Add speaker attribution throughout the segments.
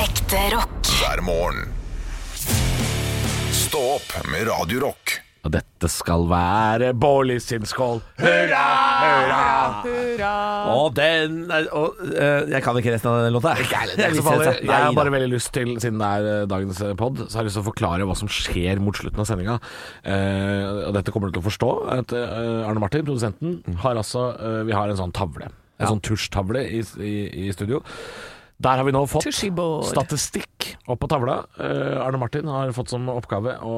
Speaker 1: Ekte rock.
Speaker 2: hver morgen. Stå opp med Radio Rock.
Speaker 3: Og dette skal være Bårli sin skål. Hurra! Hurra! Og den og, eh, Jeg kan ikke resten av den låta. Jeg,
Speaker 4: Det er ikke så farlig.
Speaker 3: visste det.
Speaker 4: Nei, Jeg har
Speaker 3: Nei da.
Speaker 4: bare veldig lyst til, siden det er eh, dagens pod, så har jeg lyst til å forklare hva som skjer mot slutten av sendinga. Eh, og dette kommer du til å forstå. At eh, Arne Martin, produsenten, har altså eh, Vi har en sånn tavle. En sånn tusjtavle i, i, i studio. Der har vi nå fått
Speaker 5: Tusjibord.
Speaker 4: statistikk opp på tavla. Eh, Arne Martin har fått som oppgave å,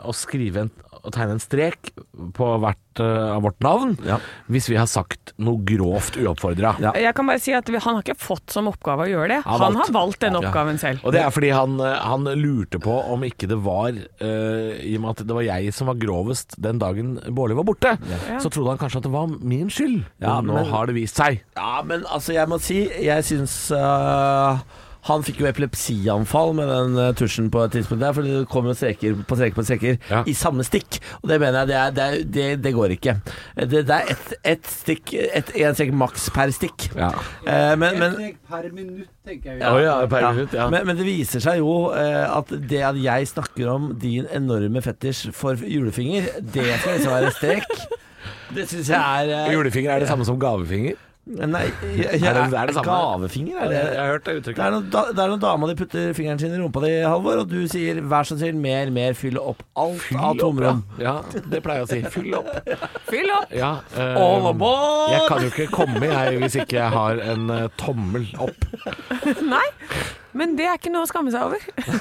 Speaker 4: å skrive en, å tegne en strek på hvert eh, av vårt navn
Speaker 3: Ja.
Speaker 4: hvis vi har sagt noe grovt uoppfordra.
Speaker 3: Ja.
Speaker 5: Jeg kan bare si at vi- Han har ikke fått som oppgave å gjøre det.
Speaker 4: Han har
Speaker 5: Han,
Speaker 4: valgt.
Speaker 5: har valgt den oppgaven selv.
Speaker 4: Og det er fordi han, eh, han lurte på om ikke det var eh, I og med at det var jeg som var grovest den dagen Bårli var borte, så trodde han kanskje at det var min skyld.
Speaker 3: Ja,
Speaker 4: men nå
Speaker 3: men-
Speaker 4: har det vist seg.
Speaker 3: Ja, men altså, jeg må si Jeg syns øh, han fikk jo epilepsianfall med den øh, tusjen på et tidspunkt der, for det kom jo streker på streker på streker
Speaker 4: Ja.
Speaker 3: i samme stikk. Og det mener jeg, det, er, det, er, det, det går ikke. Eh, Det, det er ett et stikk, et, en strek maks per stikk.
Speaker 4: Ja.
Speaker 3: Eh, men, men,
Speaker 6: Ett steg per minutt, tenker jeg.
Speaker 4: Å ja, per minutt, ja.
Speaker 3: Men, men det viser seg jo eh, at det at jeg snakker om din enorme fetisj for julefinger, det skal liksom være strek. Det syns jeg er eh,
Speaker 4: Julefinger er det samme som gavefinger.
Speaker 3: Nei, jeg, jeg,
Speaker 4: Er det- er det samme?
Speaker 3: gavefinger? Er det,
Speaker 4: hørt det
Speaker 3: det, er noen, da- det er noen dama de putter fingeren sin i rumpa di, Halvor, og du sier vær så snill, mer, mer, fyll opp alt av tomrom.
Speaker 4: Ja, det pleier jeg å si. Fyll opp.
Speaker 5: Fyll opp!
Speaker 4: Ja, eh,
Speaker 3: All aboard!
Speaker 4: jeg kan jo ikke komme jeg hvis ikke jeg har en eh, tommel opp.
Speaker 5: Nei, men det er ikke noe å skamme seg over.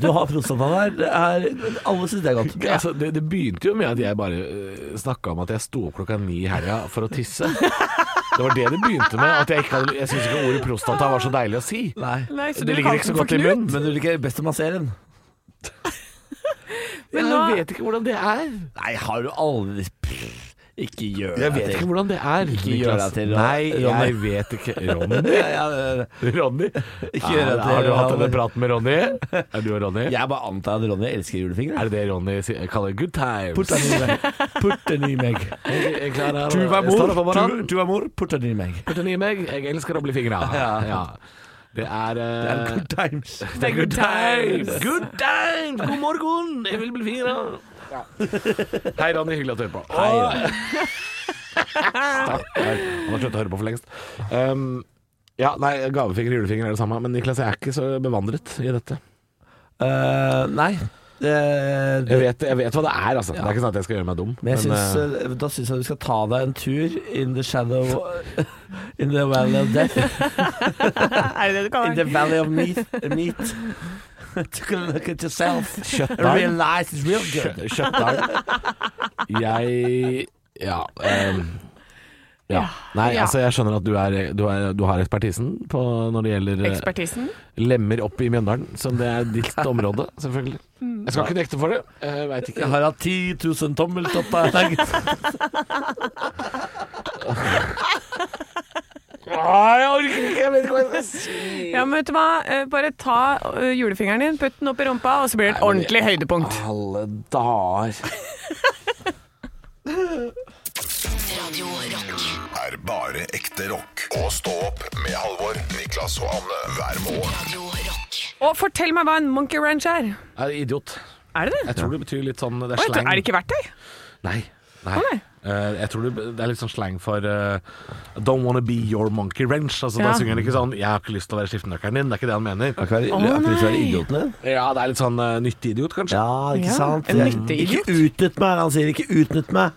Speaker 3: Du har prostata der. Det er, alle syns det er godt.
Speaker 4: Altså, det, det begynte jo med at jeg bare uh, snakka om at jeg sto opp klokka ni i helga for å tisse. Det var det det begynte med. At jeg ikke hadde, jeg syns ikke ordet prostata var så deilig å si.
Speaker 3: Nei.
Speaker 5: Nei, så
Speaker 4: Det
Speaker 5: du
Speaker 4: ligger
Speaker 5: kalte
Speaker 4: ikke så
Speaker 5: den for
Speaker 4: godt i
Speaker 5: Knut.
Speaker 4: munnen.
Speaker 3: Men du liker best å massere den.
Speaker 5: Men
Speaker 4: Jeg
Speaker 5: nå,
Speaker 4: vet ikke hvordan det er.
Speaker 3: Nei, har du aldri Pff, Ikke gjør
Speaker 4: Jeg
Speaker 3: det
Speaker 4: vet
Speaker 3: til.
Speaker 4: ikke hvordan det er.
Speaker 3: Ikke gjør
Speaker 4: Niklas.
Speaker 3: deg til,
Speaker 4: Nei,
Speaker 3: Ronny.
Speaker 4: Ronny jeg vet ikke. Ronny?
Speaker 3: Ja, ja, det- det-
Speaker 4: Ronny?
Speaker 3: Ikke gjør
Speaker 4: Ja, har
Speaker 3: deg til
Speaker 4: du hatt
Speaker 3: Ronny.
Speaker 4: denne praten med Ronny? Er du og Ronny?
Speaker 3: Jeg bare antar at Ronny elsker julefinger.
Speaker 4: Er det det Ronny sier- kaller good times?
Speaker 3: Putta den i meg. Putt den i meg.
Speaker 4: Jeg- jeg klarer å-
Speaker 3: Du var
Speaker 4: jeg står opp om
Speaker 3: mor,
Speaker 4: morgenen.
Speaker 3: du, du var mor, putt den i meg.
Speaker 4: Putt den i meg, jeg elsker å bli fingra. Ja. Det er,
Speaker 3: Det
Speaker 4: eh,
Speaker 3: er good times.
Speaker 4: det er good times! Good times! God morgen! Jeg vil bli fingra. Hei, Ronny. Hyggelig at du hører på.
Speaker 3: Hei, Ronny.
Speaker 4: Takk. Han har sluttet å høre på for lengst. Um, ja, nei, Gavefinger og julefinger er det samme, men Niklas, jeg er ikke så bevandret i dette.
Speaker 3: Eh, nei. Eh,
Speaker 4: Jeg vet, jeg vet hva det er, altså. Det er ikke sånn at jeg skal gjøre meg dum.
Speaker 3: men jeg syns,
Speaker 4: eh,
Speaker 3: eh, da syns jeg du skal ta deg en tur in the shadow In the valley of death.
Speaker 5: er
Speaker 3: In
Speaker 5: det det du
Speaker 3: the
Speaker 5: kaller den?
Speaker 3: valley of meat. meat. Take a look at yourself.
Speaker 4: Kjøttdeig.
Speaker 3: Realize it's real
Speaker 4: Kjø-
Speaker 3: good.
Speaker 4: Kjøttdeig. Jeg Ja. ehm, ja.
Speaker 5: Ja.
Speaker 4: Nei,
Speaker 5: Ja.
Speaker 4: altså jeg skjønner at du, er, du, er, du har ekspertisen på når det gjelder eh,
Speaker 5: Ekspertisen.
Speaker 4: lemmer opp i Mjøndalen, som det er ditt område, selvfølgelig.
Speaker 5: Mm.
Speaker 4: Jeg skal ikke nekte for det. Jeg veit
Speaker 3: Jeg
Speaker 4: ikke.
Speaker 3: har hatt 10 000 tommeltotter i dag.
Speaker 4: Ah, jeg orker ikke! Jeg vet ikke hva jeg skal si.
Speaker 5: Ja, men vet du hva? Eh, Bare ta eh, julefingeren din, putt den opp i rumpa, og så blir det et
Speaker 4: Nei, men-
Speaker 5: ordentlig høydepunkt.
Speaker 4: Alle dager.
Speaker 1: Radio Rock.
Speaker 2: Er bare ekte rock. Og stå opp med Halvor, Niklas og Anne hver morgen.
Speaker 1: Radio Rock.
Speaker 5: Og fortell meg hva en monkey ranch er.
Speaker 4: Jeg er idiot.
Speaker 5: Er det det?
Speaker 4: Jeg tror det betyr litt sånn Det er
Speaker 5: Å, jeg tror-
Speaker 4: slang.
Speaker 5: Er det ikke verktøy?
Speaker 4: Nei. Nei.
Speaker 5: Å, nei.
Speaker 4: Eh, jeg tror det, det er litt sånn slang for eh, Don't wanna be your monkey wrench. Altså, Da
Speaker 5: Ja.
Speaker 4: synger han ikke sånn 'Jeg har ikke lyst til å være skiftenøkkelen din'. Det er ikke det han mener.
Speaker 3: Kan være,
Speaker 5: Å,
Speaker 3: akkurat som er
Speaker 5: nei.
Speaker 3: idioten din.
Speaker 4: Ja, det er litt sånn eh, nyttig idiot, kanskje. Ja.
Speaker 3: Ja, ikke
Speaker 5: Ja,
Speaker 3: sant?
Speaker 5: en
Speaker 3: Jeg-
Speaker 5: nyttig
Speaker 3: ikke utnytt meg, han sier. Ikke utnytt meg.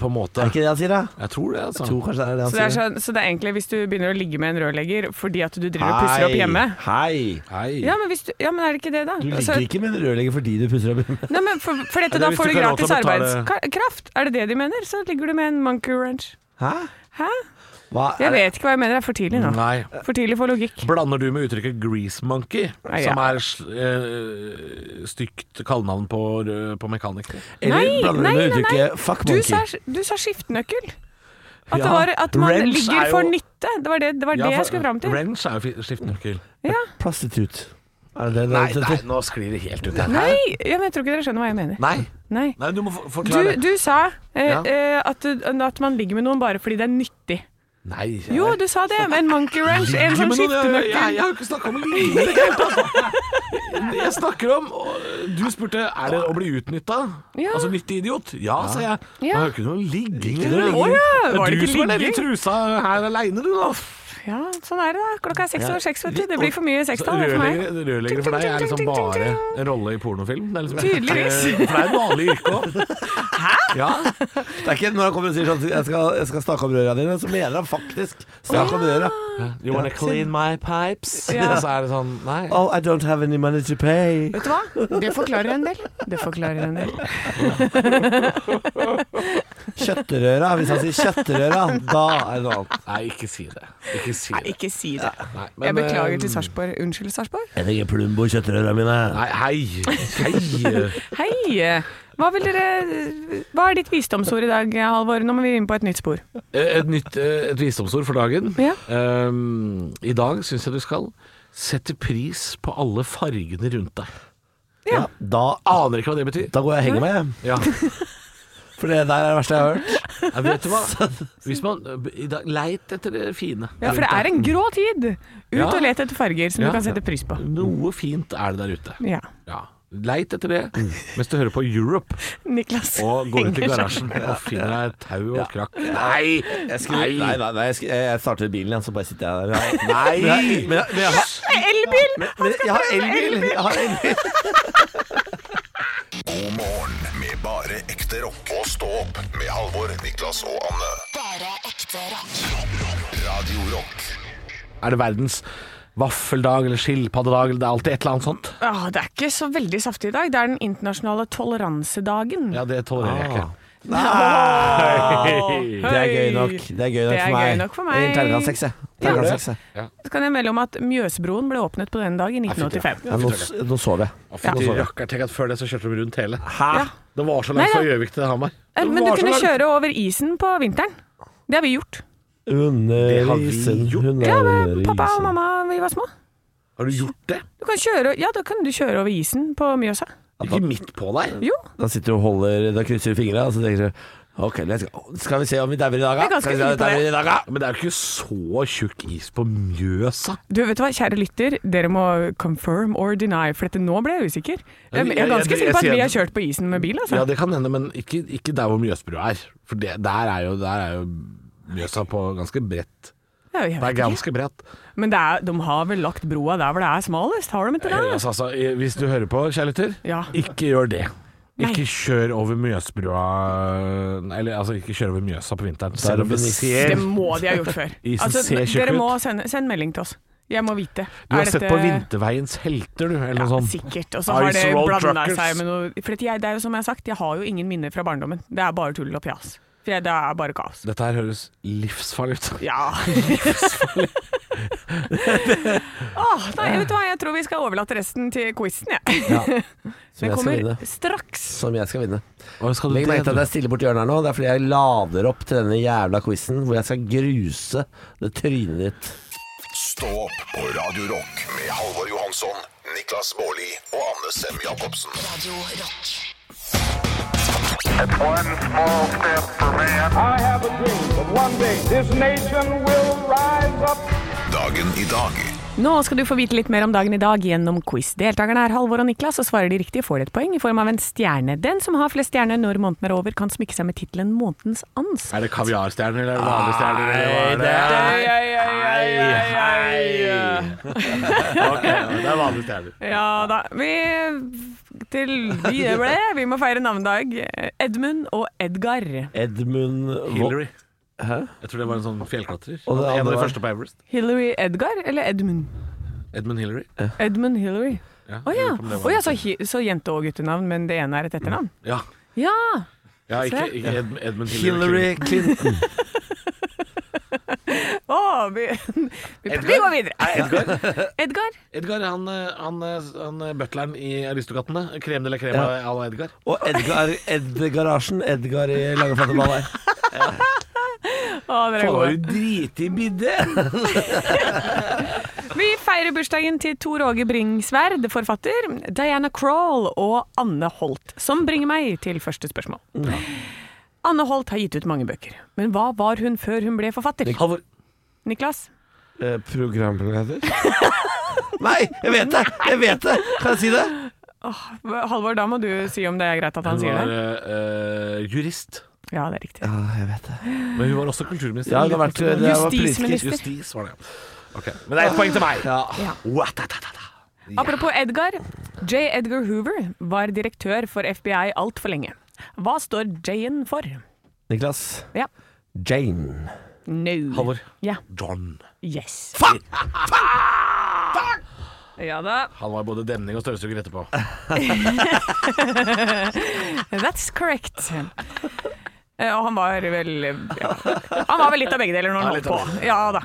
Speaker 4: på en måte.
Speaker 3: Er det ikke det han sier, da?
Speaker 4: Jeg tror det, altså.
Speaker 3: Jeg tror kanskje det er det han
Speaker 5: Så det, er
Speaker 3: sier.
Speaker 5: sånn, så det er egentlig hvis du begynner å ligge med en rørlegger fordi at sånn du driver og pusser opp
Speaker 3: Hei,
Speaker 5: hjemme
Speaker 3: Hei!
Speaker 4: Hei.
Speaker 5: ja men, hvis du, ja, men er det ikke det, da?
Speaker 3: Du
Speaker 5: Altså-
Speaker 3: ligger ikke med en rørlegger fordi du pusser opp hjemme.
Speaker 5: Nei, men for, for dette,
Speaker 4: Eller
Speaker 5: da
Speaker 4: hvis
Speaker 5: får
Speaker 4: du
Speaker 5: du
Speaker 4: ikke har lov
Speaker 5: gratis
Speaker 4: til å betale-
Speaker 5: arbeidskraft. Er det det de mener? Så ligger du med en monkey ranch.
Speaker 3: Hæ?
Speaker 5: Hæ?
Speaker 3: Hva?
Speaker 5: Jeg vet ikke hva jeg mener. Det er for tidlig nå.
Speaker 4: Nei.
Speaker 5: For tidlig for logikk.
Speaker 4: Blander du med uttrykket 'grease monkey',
Speaker 5: Nei,
Speaker 4: som
Speaker 5: ja.
Speaker 4: er sl- eh, stygt kallenavn på, rø- på mekanikere?
Speaker 3: Eller
Speaker 5: Nei,
Speaker 3: blander du
Speaker 5: nei,
Speaker 3: med
Speaker 5: nei, nei.
Speaker 3: uttrykket 'fuck
Speaker 5: Du sa,
Speaker 3: monkey'?
Speaker 5: du sa skiftenøkkel. At, det
Speaker 3: Ja,
Speaker 5: var, at man
Speaker 3: wrench er
Speaker 5: ligger
Speaker 3: jo-
Speaker 5: for nytte. Det var det, det, var
Speaker 4: Ja,
Speaker 5: det
Speaker 4: for-
Speaker 5: jeg skulle fram til.
Speaker 4: Wrench er jo fi- skiftenøkkel.
Speaker 5: Ja.
Speaker 3: Prostitut. Er det det
Speaker 4: Nei,
Speaker 3: det
Speaker 4: nei, nå sklir det helt ut. her.
Speaker 5: Nei, ja, men jeg tror ikke dere skjønner hva jeg mener.
Speaker 4: Nei.
Speaker 5: Nei.
Speaker 4: nei, du må for-
Speaker 5: Du,
Speaker 4: forklare.
Speaker 5: du sa eh,
Speaker 4: Ja.
Speaker 5: eh, at, at man ligger med noen bare fordi det er nyttig.
Speaker 4: Nei, jeg,
Speaker 5: Jo, du sa det. En monkey wrench. En
Speaker 4: Ligge
Speaker 5: sånn som
Speaker 4: med noen, jeg-
Speaker 5: skifter
Speaker 4: Jeg, jeg har ikke snakka om ligge i det hele tatt. Jeg snakker om og Du spurte er det å bli utnytta.
Speaker 5: Ja.
Speaker 4: Altså nyttig idiot. Ja, sa jeg. Men
Speaker 5: Ja.
Speaker 4: Jeg har ikke noe ligging.
Speaker 3: noe ligging.
Speaker 5: Å ja, var
Speaker 4: det er
Speaker 5: det
Speaker 4: du
Speaker 5: ikke
Speaker 4: som er nede i
Speaker 5: ligging?
Speaker 4: trusa her aleine, du, da.
Speaker 5: Ja, sånn er det, da. Klokka er seks over seks, vet du. Det blir for mye
Speaker 4: Så
Speaker 5: sekstall det for meg.
Speaker 4: Rørleggere rørleggere for deg er liksom bare en rolle i pornofilm. Det er liksom
Speaker 5: Tydeligvis.
Speaker 4: For det er et vanlig yrke òg. Ja.
Speaker 3: Det er ikke når han kommer og sier sånn jeg skal, jeg skal snakke om røra dine, så mener han faktisk snakke om
Speaker 5: Ah.
Speaker 3: røra.
Speaker 4: You wanna clean my pipes?
Speaker 5: Ja.
Speaker 4: Og så er det sånn Nei.
Speaker 3: Oh, I don't have any money to pay.
Speaker 5: Vet du hva? Det forklarer en del. Det forklarer en del.
Speaker 3: Kjøttrøra. Hvis han sier kjøttrøra, da er det noe annet.
Speaker 4: Nei, ikke si det. Ikke si
Speaker 5: Nei,
Speaker 4: det.
Speaker 5: ikke si det.
Speaker 4: Nei, men,
Speaker 5: Jeg beklager til
Speaker 4: eh,
Speaker 5: Sarpsborg. Unnskyld, Sarpsborg.
Speaker 3: Jeg trenger Plumbo kjøttrøra mine.
Speaker 4: Nei, hei. Hei.
Speaker 5: Hei! Hva, vil dere, hva er ditt visdomsord i dag, Halvor? Nå må vi inn på et nytt spor.
Speaker 4: Eh, Et nytt eh, et visdomsord for dagen.
Speaker 5: Ja.
Speaker 4: Ehm, I dag syns jeg du skal sette pris på alle fargene rundt deg.
Speaker 3: Ja. Da,
Speaker 4: Aner ikke hva det betyr.
Speaker 3: da går jeg og henger meg, jeg.
Speaker 4: Ja.
Speaker 3: for det der er det verste jeg har hørt.
Speaker 4: Ja, vet du hva? Hvis man eh, i dag, Leit etter det fine.
Speaker 5: Ja, for det er en grå tid! Ut
Speaker 4: Ja.
Speaker 5: og let etter farger som
Speaker 4: Ja.
Speaker 5: du kan sette pris på.
Speaker 4: Noe fint er det der ute.
Speaker 5: Ja.
Speaker 4: Ja. Leit etter det mens du hører på Europe
Speaker 5: Niklas
Speaker 4: og går ut i
Speaker 5: henger
Speaker 4: garasjen
Speaker 5: seg.
Speaker 4: og finner deg et tau og krakk. Nei!
Speaker 3: Jeg skrur- nei, nei, nei, jeg, skru, jeg starter bilen igjen, så bare sitter jeg der. Nei.
Speaker 4: Nei!
Speaker 3: Men, jeg, men, jeg, har-
Speaker 5: Elbil!
Speaker 3: men, men jeg har elbil! Jeg har elbil.
Speaker 2: God morgen med bare ekte rock. Og stå opp med Halvor, Niklas og Anne.
Speaker 1: Bare ekte rock.
Speaker 2: Radio Rock.
Speaker 4: Er det verdens vaffeldag eller skilpaddedag eller det er alltid et eller annet sånt?
Speaker 5: Åh, det er ikke så veldig saftig i dag. Det er den internasjonale toleransedagen.
Speaker 4: Ja, det tolererer jeg
Speaker 3: Ah.
Speaker 4: ikke.
Speaker 5: Åh,
Speaker 3: Det er gøy
Speaker 5: høy.
Speaker 3: nok. Det er gøy nok
Speaker 5: Det er
Speaker 3: for meg.
Speaker 5: gøy nok for meg.
Speaker 3: Jeg gir Terningkast seks, jeg. Terningkast seks, jeg.
Speaker 5: Så kan jeg melde om at Mjøsbroen ble åpnet på denne dag i 1985.
Speaker 3: Ja, nå, nå sover jeg.
Speaker 4: Å, Fytti
Speaker 5: Ja.
Speaker 4: rakker, tenk at før det så kjørte de rundt hele.
Speaker 5: Ja.
Speaker 4: Det var så
Speaker 5: Nei,
Speaker 4: langt
Speaker 5: ja.
Speaker 4: fra Gjøvik til Hamar.
Speaker 5: Eh,
Speaker 4: Det
Speaker 5: Men du
Speaker 4: var så
Speaker 5: kunne
Speaker 4: langt.
Speaker 5: kjøre over isen på vinteren. Det har vi gjort.
Speaker 3: Under
Speaker 4: har vi
Speaker 3: isen,
Speaker 4: gjort.
Speaker 3: hun
Speaker 5: Ja,
Speaker 3: er
Speaker 5: men
Speaker 3: under
Speaker 5: pappa og
Speaker 3: isen.
Speaker 5: mamma vi var små.
Speaker 4: Har du gjort det?
Speaker 5: Du kan kjøre, ja, da kan du kjøre over isen på Mjøsa.
Speaker 4: Ikke midt på deg?
Speaker 5: Jo,
Speaker 3: Da sitter du og holder Da krysser du fingra, og så tenker du OK, let's go. Skal vi se om vi dauer i dag,
Speaker 5: Jeg er
Speaker 3: da?
Speaker 5: ganske
Speaker 3: Skal vi se om vi
Speaker 5: sikker på det.
Speaker 3: dauer i dag, da?
Speaker 4: Men det er jo ikke så tjukk is på Mjøsa.
Speaker 5: du vet du hva, kjære lytter, dere må confirm or deny, for dette nå ble jeg usikker.
Speaker 4: Ja,
Speaker 5: Jeg
Speaker 4: jeg- jeg-
Speaker 5: er ganske
Speaker 4: jeg-
Speaker 5: sikker på at
Speaker 4: jeg-
Speaker 5: vi har kjørt på isen med bil,
Speaker 4: Ja,
Speaker 5: altså.
Speaker 4: det kan hende, men ikke, ikke der hvor Mjøsbrua er. For det, der, er jo, der er jo Mjøsa på ganske bredt.
Speaker 5: Ja, jeg
Speaker 4: Det er
Speaker 5: vet ikke.
Speaker 4: ganske bredt.
Speaker 5: Men det er, de har vel lagt broa der hvor det er smalest, har de ikke
Speaker 4: Eh,
Speaker 5: det?
Speaker 4: Altså, altså, eh, hvis du hører på, kjære lytter,
Speaker 5: Ja.
Speaker 4: ikke gjør det.
Speaker 5: Nei.
Speaker 4: Ikke kjør over Mjøsbrua Eller altså, ikke kjør over Mjøsa på vinteren.
Speaker 3: er
Speaker 4: Selv om det
Speaker 3: det benytt-
Speaker 4: ser
Speaker 5: Det må de ha gjort før.
Speaker 4: Isen
Speaker 5: Altså,
Speaker 4: ser tjukk
Speaker 5: dere
Speaker 4: ut.
Speaker 5: må sende, send melding til oss. Jeg må vite.
Speaker 4: Du har
Speaker 5: Er
Speaker 4: sett
Speaker 5: dette-
Speaker 4: på Vinterveiens helter, du, eller
Speaker 5: Ja,
Speaker 4: noe sånt.
Speaker 5: sikkert. Og så har
Speaker 4: Ice
Speaker 5: det
Speaker 4: Road
Speaker 5: blanda
Speaker 4: Truckers.
Speaker 5: seg med noe For at jeg, det er jo som jeg har sagt, jeg har jo ingen minner fra barndommen. Det er bare tull og pjas. For jeg, det er bare kaos.
Speaker 4: Dette her høres livsfarlig ut.
Speaker 5: Ja. Åh, nei, vet du hva, jeg tror vi skal overlate resten til quizen, jeg.
Speaker 3: Ja. Som
Speaker 5: Den
Speaker 3: jeg skal vinne.
Speaker 5: kommer straks.
Speaker 3: Som jeg skal vinne.
Speaker 4: Og skal du
Speaker 3: Legg merke til at
Speaker 4: det?
Speaker 3: jeg stiller bort hjørnet her nå. Det er fordi jeg lader opp til denne jævla quizen hvor jeg skal gruse det trynet ditt.
Speaker 2: Stå opp på Radio Rock med Halvor Johansson, Niklas Baarli og Anne Sem Jacobsen.
Speaker 1: Radio Rock.
Speaker 6: One small step for man.
Speaker 7: I have a dream that one day this nation will rise up.
Speaker 2: Dagen i dag
Speaker 5: Nå skal du få vite litt mer om dagen i dag gjennom quiz. Deltakerne er Halvor og Niklas, og svarer de riktig får de et poeng i form av en stjerne. Den som har flest stjerner når måneden er over, kan smykke seg med tittelen Månedens ans.
Speaker 4: Er det kaviarstjerner eller vanlige stjerner? Eller hva er det? Hei, hei. Ok, det er vanlige stjerner.
Speaker 5: Ja da. Vi, til, vi, ble, vi må feire navnedag. Edmund og Edgar.
Speaker 3: Edmund Vo-
Speaker 4: Hillary. Jeg tror det var en sånn fjellklatrer.
Speaker 3: Og det
Speaker 4: en av
Speaker 3: andre
Speaker 4: de
Speaker 3: var-
Speaker 4: første på Everest.
Speaker 5: Hillary Edgar eller Edmund?
Speaker 4: Edmund Hillary.
Speaker 3: Eh.
Speaker 5: Edmund Hillary.
Speaker 4: Ja,
Speaker 5: Å ja.
Speaker 4: jeg lurer på om det var- sånn-
Speaker 5: Å ja, så, hi- så jente- og guttenavn, men det ene er et etternavn?
Speaker 4: ja.
Speaker 5: Ja!
Speaker 4: ja, ikke,
Speaker 5: Se.
Speaker 4: ikke Edmund, Edmund Hillary.
Speaker 3: Hillary Clinton.
Speaker 5: Å, vi, vi, vi går videre. Edgar.
Speaker 4: Edgar, han, eh, han, eh, han eh, butleren i Aristokattene. Krem eller krem à la Edgar.
Speaker 3: Og Edgar Edgarasjen. Edgar i langeflate ball her.
Speaker 5: Å, dere er gode.
Speaker 3: driti bidde.
Speaker 5: Vi feirer bursdagen til Tor Åge Bringsværd, forfatter, Diana Crawl og Anne Holt, som bringer meg til første spørsmål. Anne Holt har gitt ut mange bøker, men hva var hun før hun ble forfatter?
Speaker 4: Halvor.
Speaker 5: Niklas?
Speaker 3: Eh, programleder? Nei, jeg vet det! Jeg vet det! Kan jeg si det?
Speaker 5: Halvor, da må du si om det er greit at han
Speaker 4: Hun
Speaker 5: sier
Speaker 4: var
Speaker 5: det.
Speaker 4: eh, eh, jurist,
Speaker 5: Ja, det er riktig.
Speaker 3: Ja, jeg vet det.
Speaker 4: men hun var også kulturminister.
Speaker 3: Ja, det har vært, eh, det var
Speaker 5: Justisminister.
Speaker 3: politiker.
Speaker 4: Justis var det. Ok, Men det er ett poeng til meg.
Speaker 3: Ja.
Speaker 4: Wa-ta-ta-ta-ta.
Speaker 5: Apropos Edgar. J. Edgar Hoover var direktør for FBI altfor lenge. Hva står J-en for?
Speaker 3: Niklas.
Speaker 5: Ja.
Speaker 3: Jane.
Speaker 5: No.
Speaker 4: Halvor.
Speaker 5: Ja.
Speaker 4: John.
Speaker 5: Yes. Fuck! Ja da.
Speaker 4: Han var både demning og støvsuger etterpå.
Speaker 5: That's correct. Eh, Og han var vel ja. Han var vel litt av begge deler når han
Speaker 4: Ja, litt
Speaker 5: holdt på.
Speaker 4: av
Speaker 5: Ja da.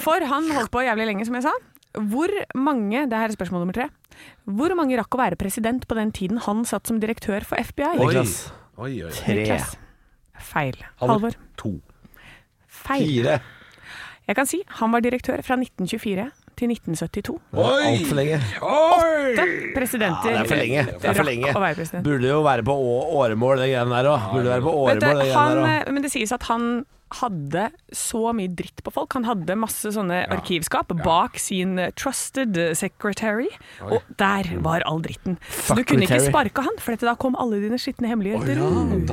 Speaker 5: For han holdt på jævlig lenge, som jeg sa. Hvor mange det her er spørsmål nummer tre. Hvor mange rakk å være president på den tiden han satt som direktør for FBI?
Speaker 3: Niklas.
Speaker 4: Oi, oi, oi.
Speaker 3: Tre.
Speaker 5: Niklas. Feil. Halvor.
Speaker 4: To.
Speaker 5: Feil.
Speaker 3: Fire.
Speaker 5: Jeg kan si han var direktør fra 1924 til 1972.
Speaker 3: Altfor lenge.
Speaker 5: Da presidenter
Speaker 3: Det er for lenge. Det er for lenge.
Speaker 5: rakk å være president.
Speaker 3: Burde jo være på å- åremål, det greiene der òg. Burde være på
Speaker 5: Vet
Speaker 3: åremål,
Speaker 5: du,
Speaker 3: det
Speaker 5: han,
Speaker 3: greiene der òg.
Speaker 5: eh, men det sies at han hadde så mye dritt på folk. Han hadde masse sånne arkivskap bak sin eh, trusted eh, secretary, og der var all dritten. Så du kunne ikke
Speaker 3: Secretary.
Speaker 5: sparke han, for dette da kom alle dine skitne hemmeligheter ut.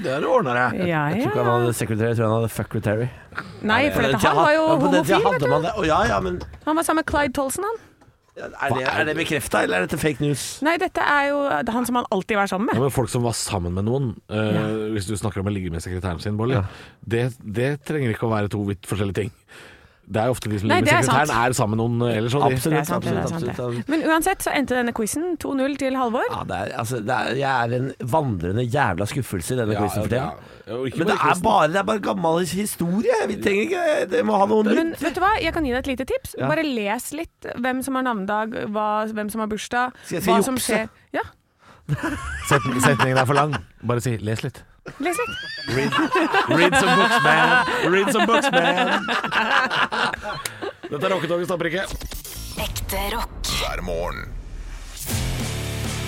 Speaker 4: Det har du ordna deg.
Speaker 5: Ja,
Speaker 3: Jeg tror ikke
Speaker 5: ja.
Speaker 3: han hadde sekretær, jeg tror han hadde fuckretary.
Speaker 5: Nei, for dette, han var jo
Speaker 3: Ja, på den tida
Speaker 5: homofil, vet
Speaker 3: hadde
Speaker 5: du.
Speaker 3: man det. Å, ja, ja, men
Speaker 5: Han var sammen med Clyde Tolson, han.
Speaker 3: er det, er det bekrefta, eller er dette fake news?
Speaker 5: Nei, dette er jo det er han som han alltid var sammen
Speaker 4: Ja,
Speaker 5: med.
Speaker 4: men folk som var sammen med noen, eh, hvis du snakker om å ligge med sekretæren sin, Bolly, det, det trenger ikke å være to vidt forskjellige ting. Det er jo ofte de som
Speaker 5: Nei,
Speaker 4: ligger med
Speaker 5: det er sant.
Speaker 4: sekretæren, er sammen med noen eh, ellers. og de-
Speaker 5: Det
Speaker 3: Absolutt.
Speaker 5: er sant, det er sant, det.
Speaker 3: absolutt.
Speaker 5: Men uansett så endte denne quizen 2-0 til Halvor.
Speaker 3: Ja, det er, altså, det er, jeg er en vandrende jævla skuffelse i denne
Speaker 4: Ja,
Speaker 3: quizen for
Speaker 4: ja.
Speaker 3: tiden.
Speaker 4: Og ikke
Speaker 3: Men det
Speaker 4: bare
Speaker 3: er
Speaker 4: quizen.
Speaker 3: bare, det er bare gammel historie. Vi trenger ikke Det må ha noe
Speaker 5: Men
Speaker 3: nytt.
Speaker 5: vet du hva, jeg kan gi deg et lite tips. Bare les litt hvem som har navnedag, hva, hvem som har bursdag,
Speaker 3: Skal jeg si
Speaker 5: hva som
Speaker 3: jukse?
Speaker 5: skjer. Ja,
Speaker 4: Setn- Setningen er for lang. Bare si 'les litt'.
Speaker 5: les litt.
Speaker 4: Read some books, man. Read some books, man. Dette er Rocketoget stopper ikke.
Speaker 1: Ekte rock.
Speaker 2: hver morgen.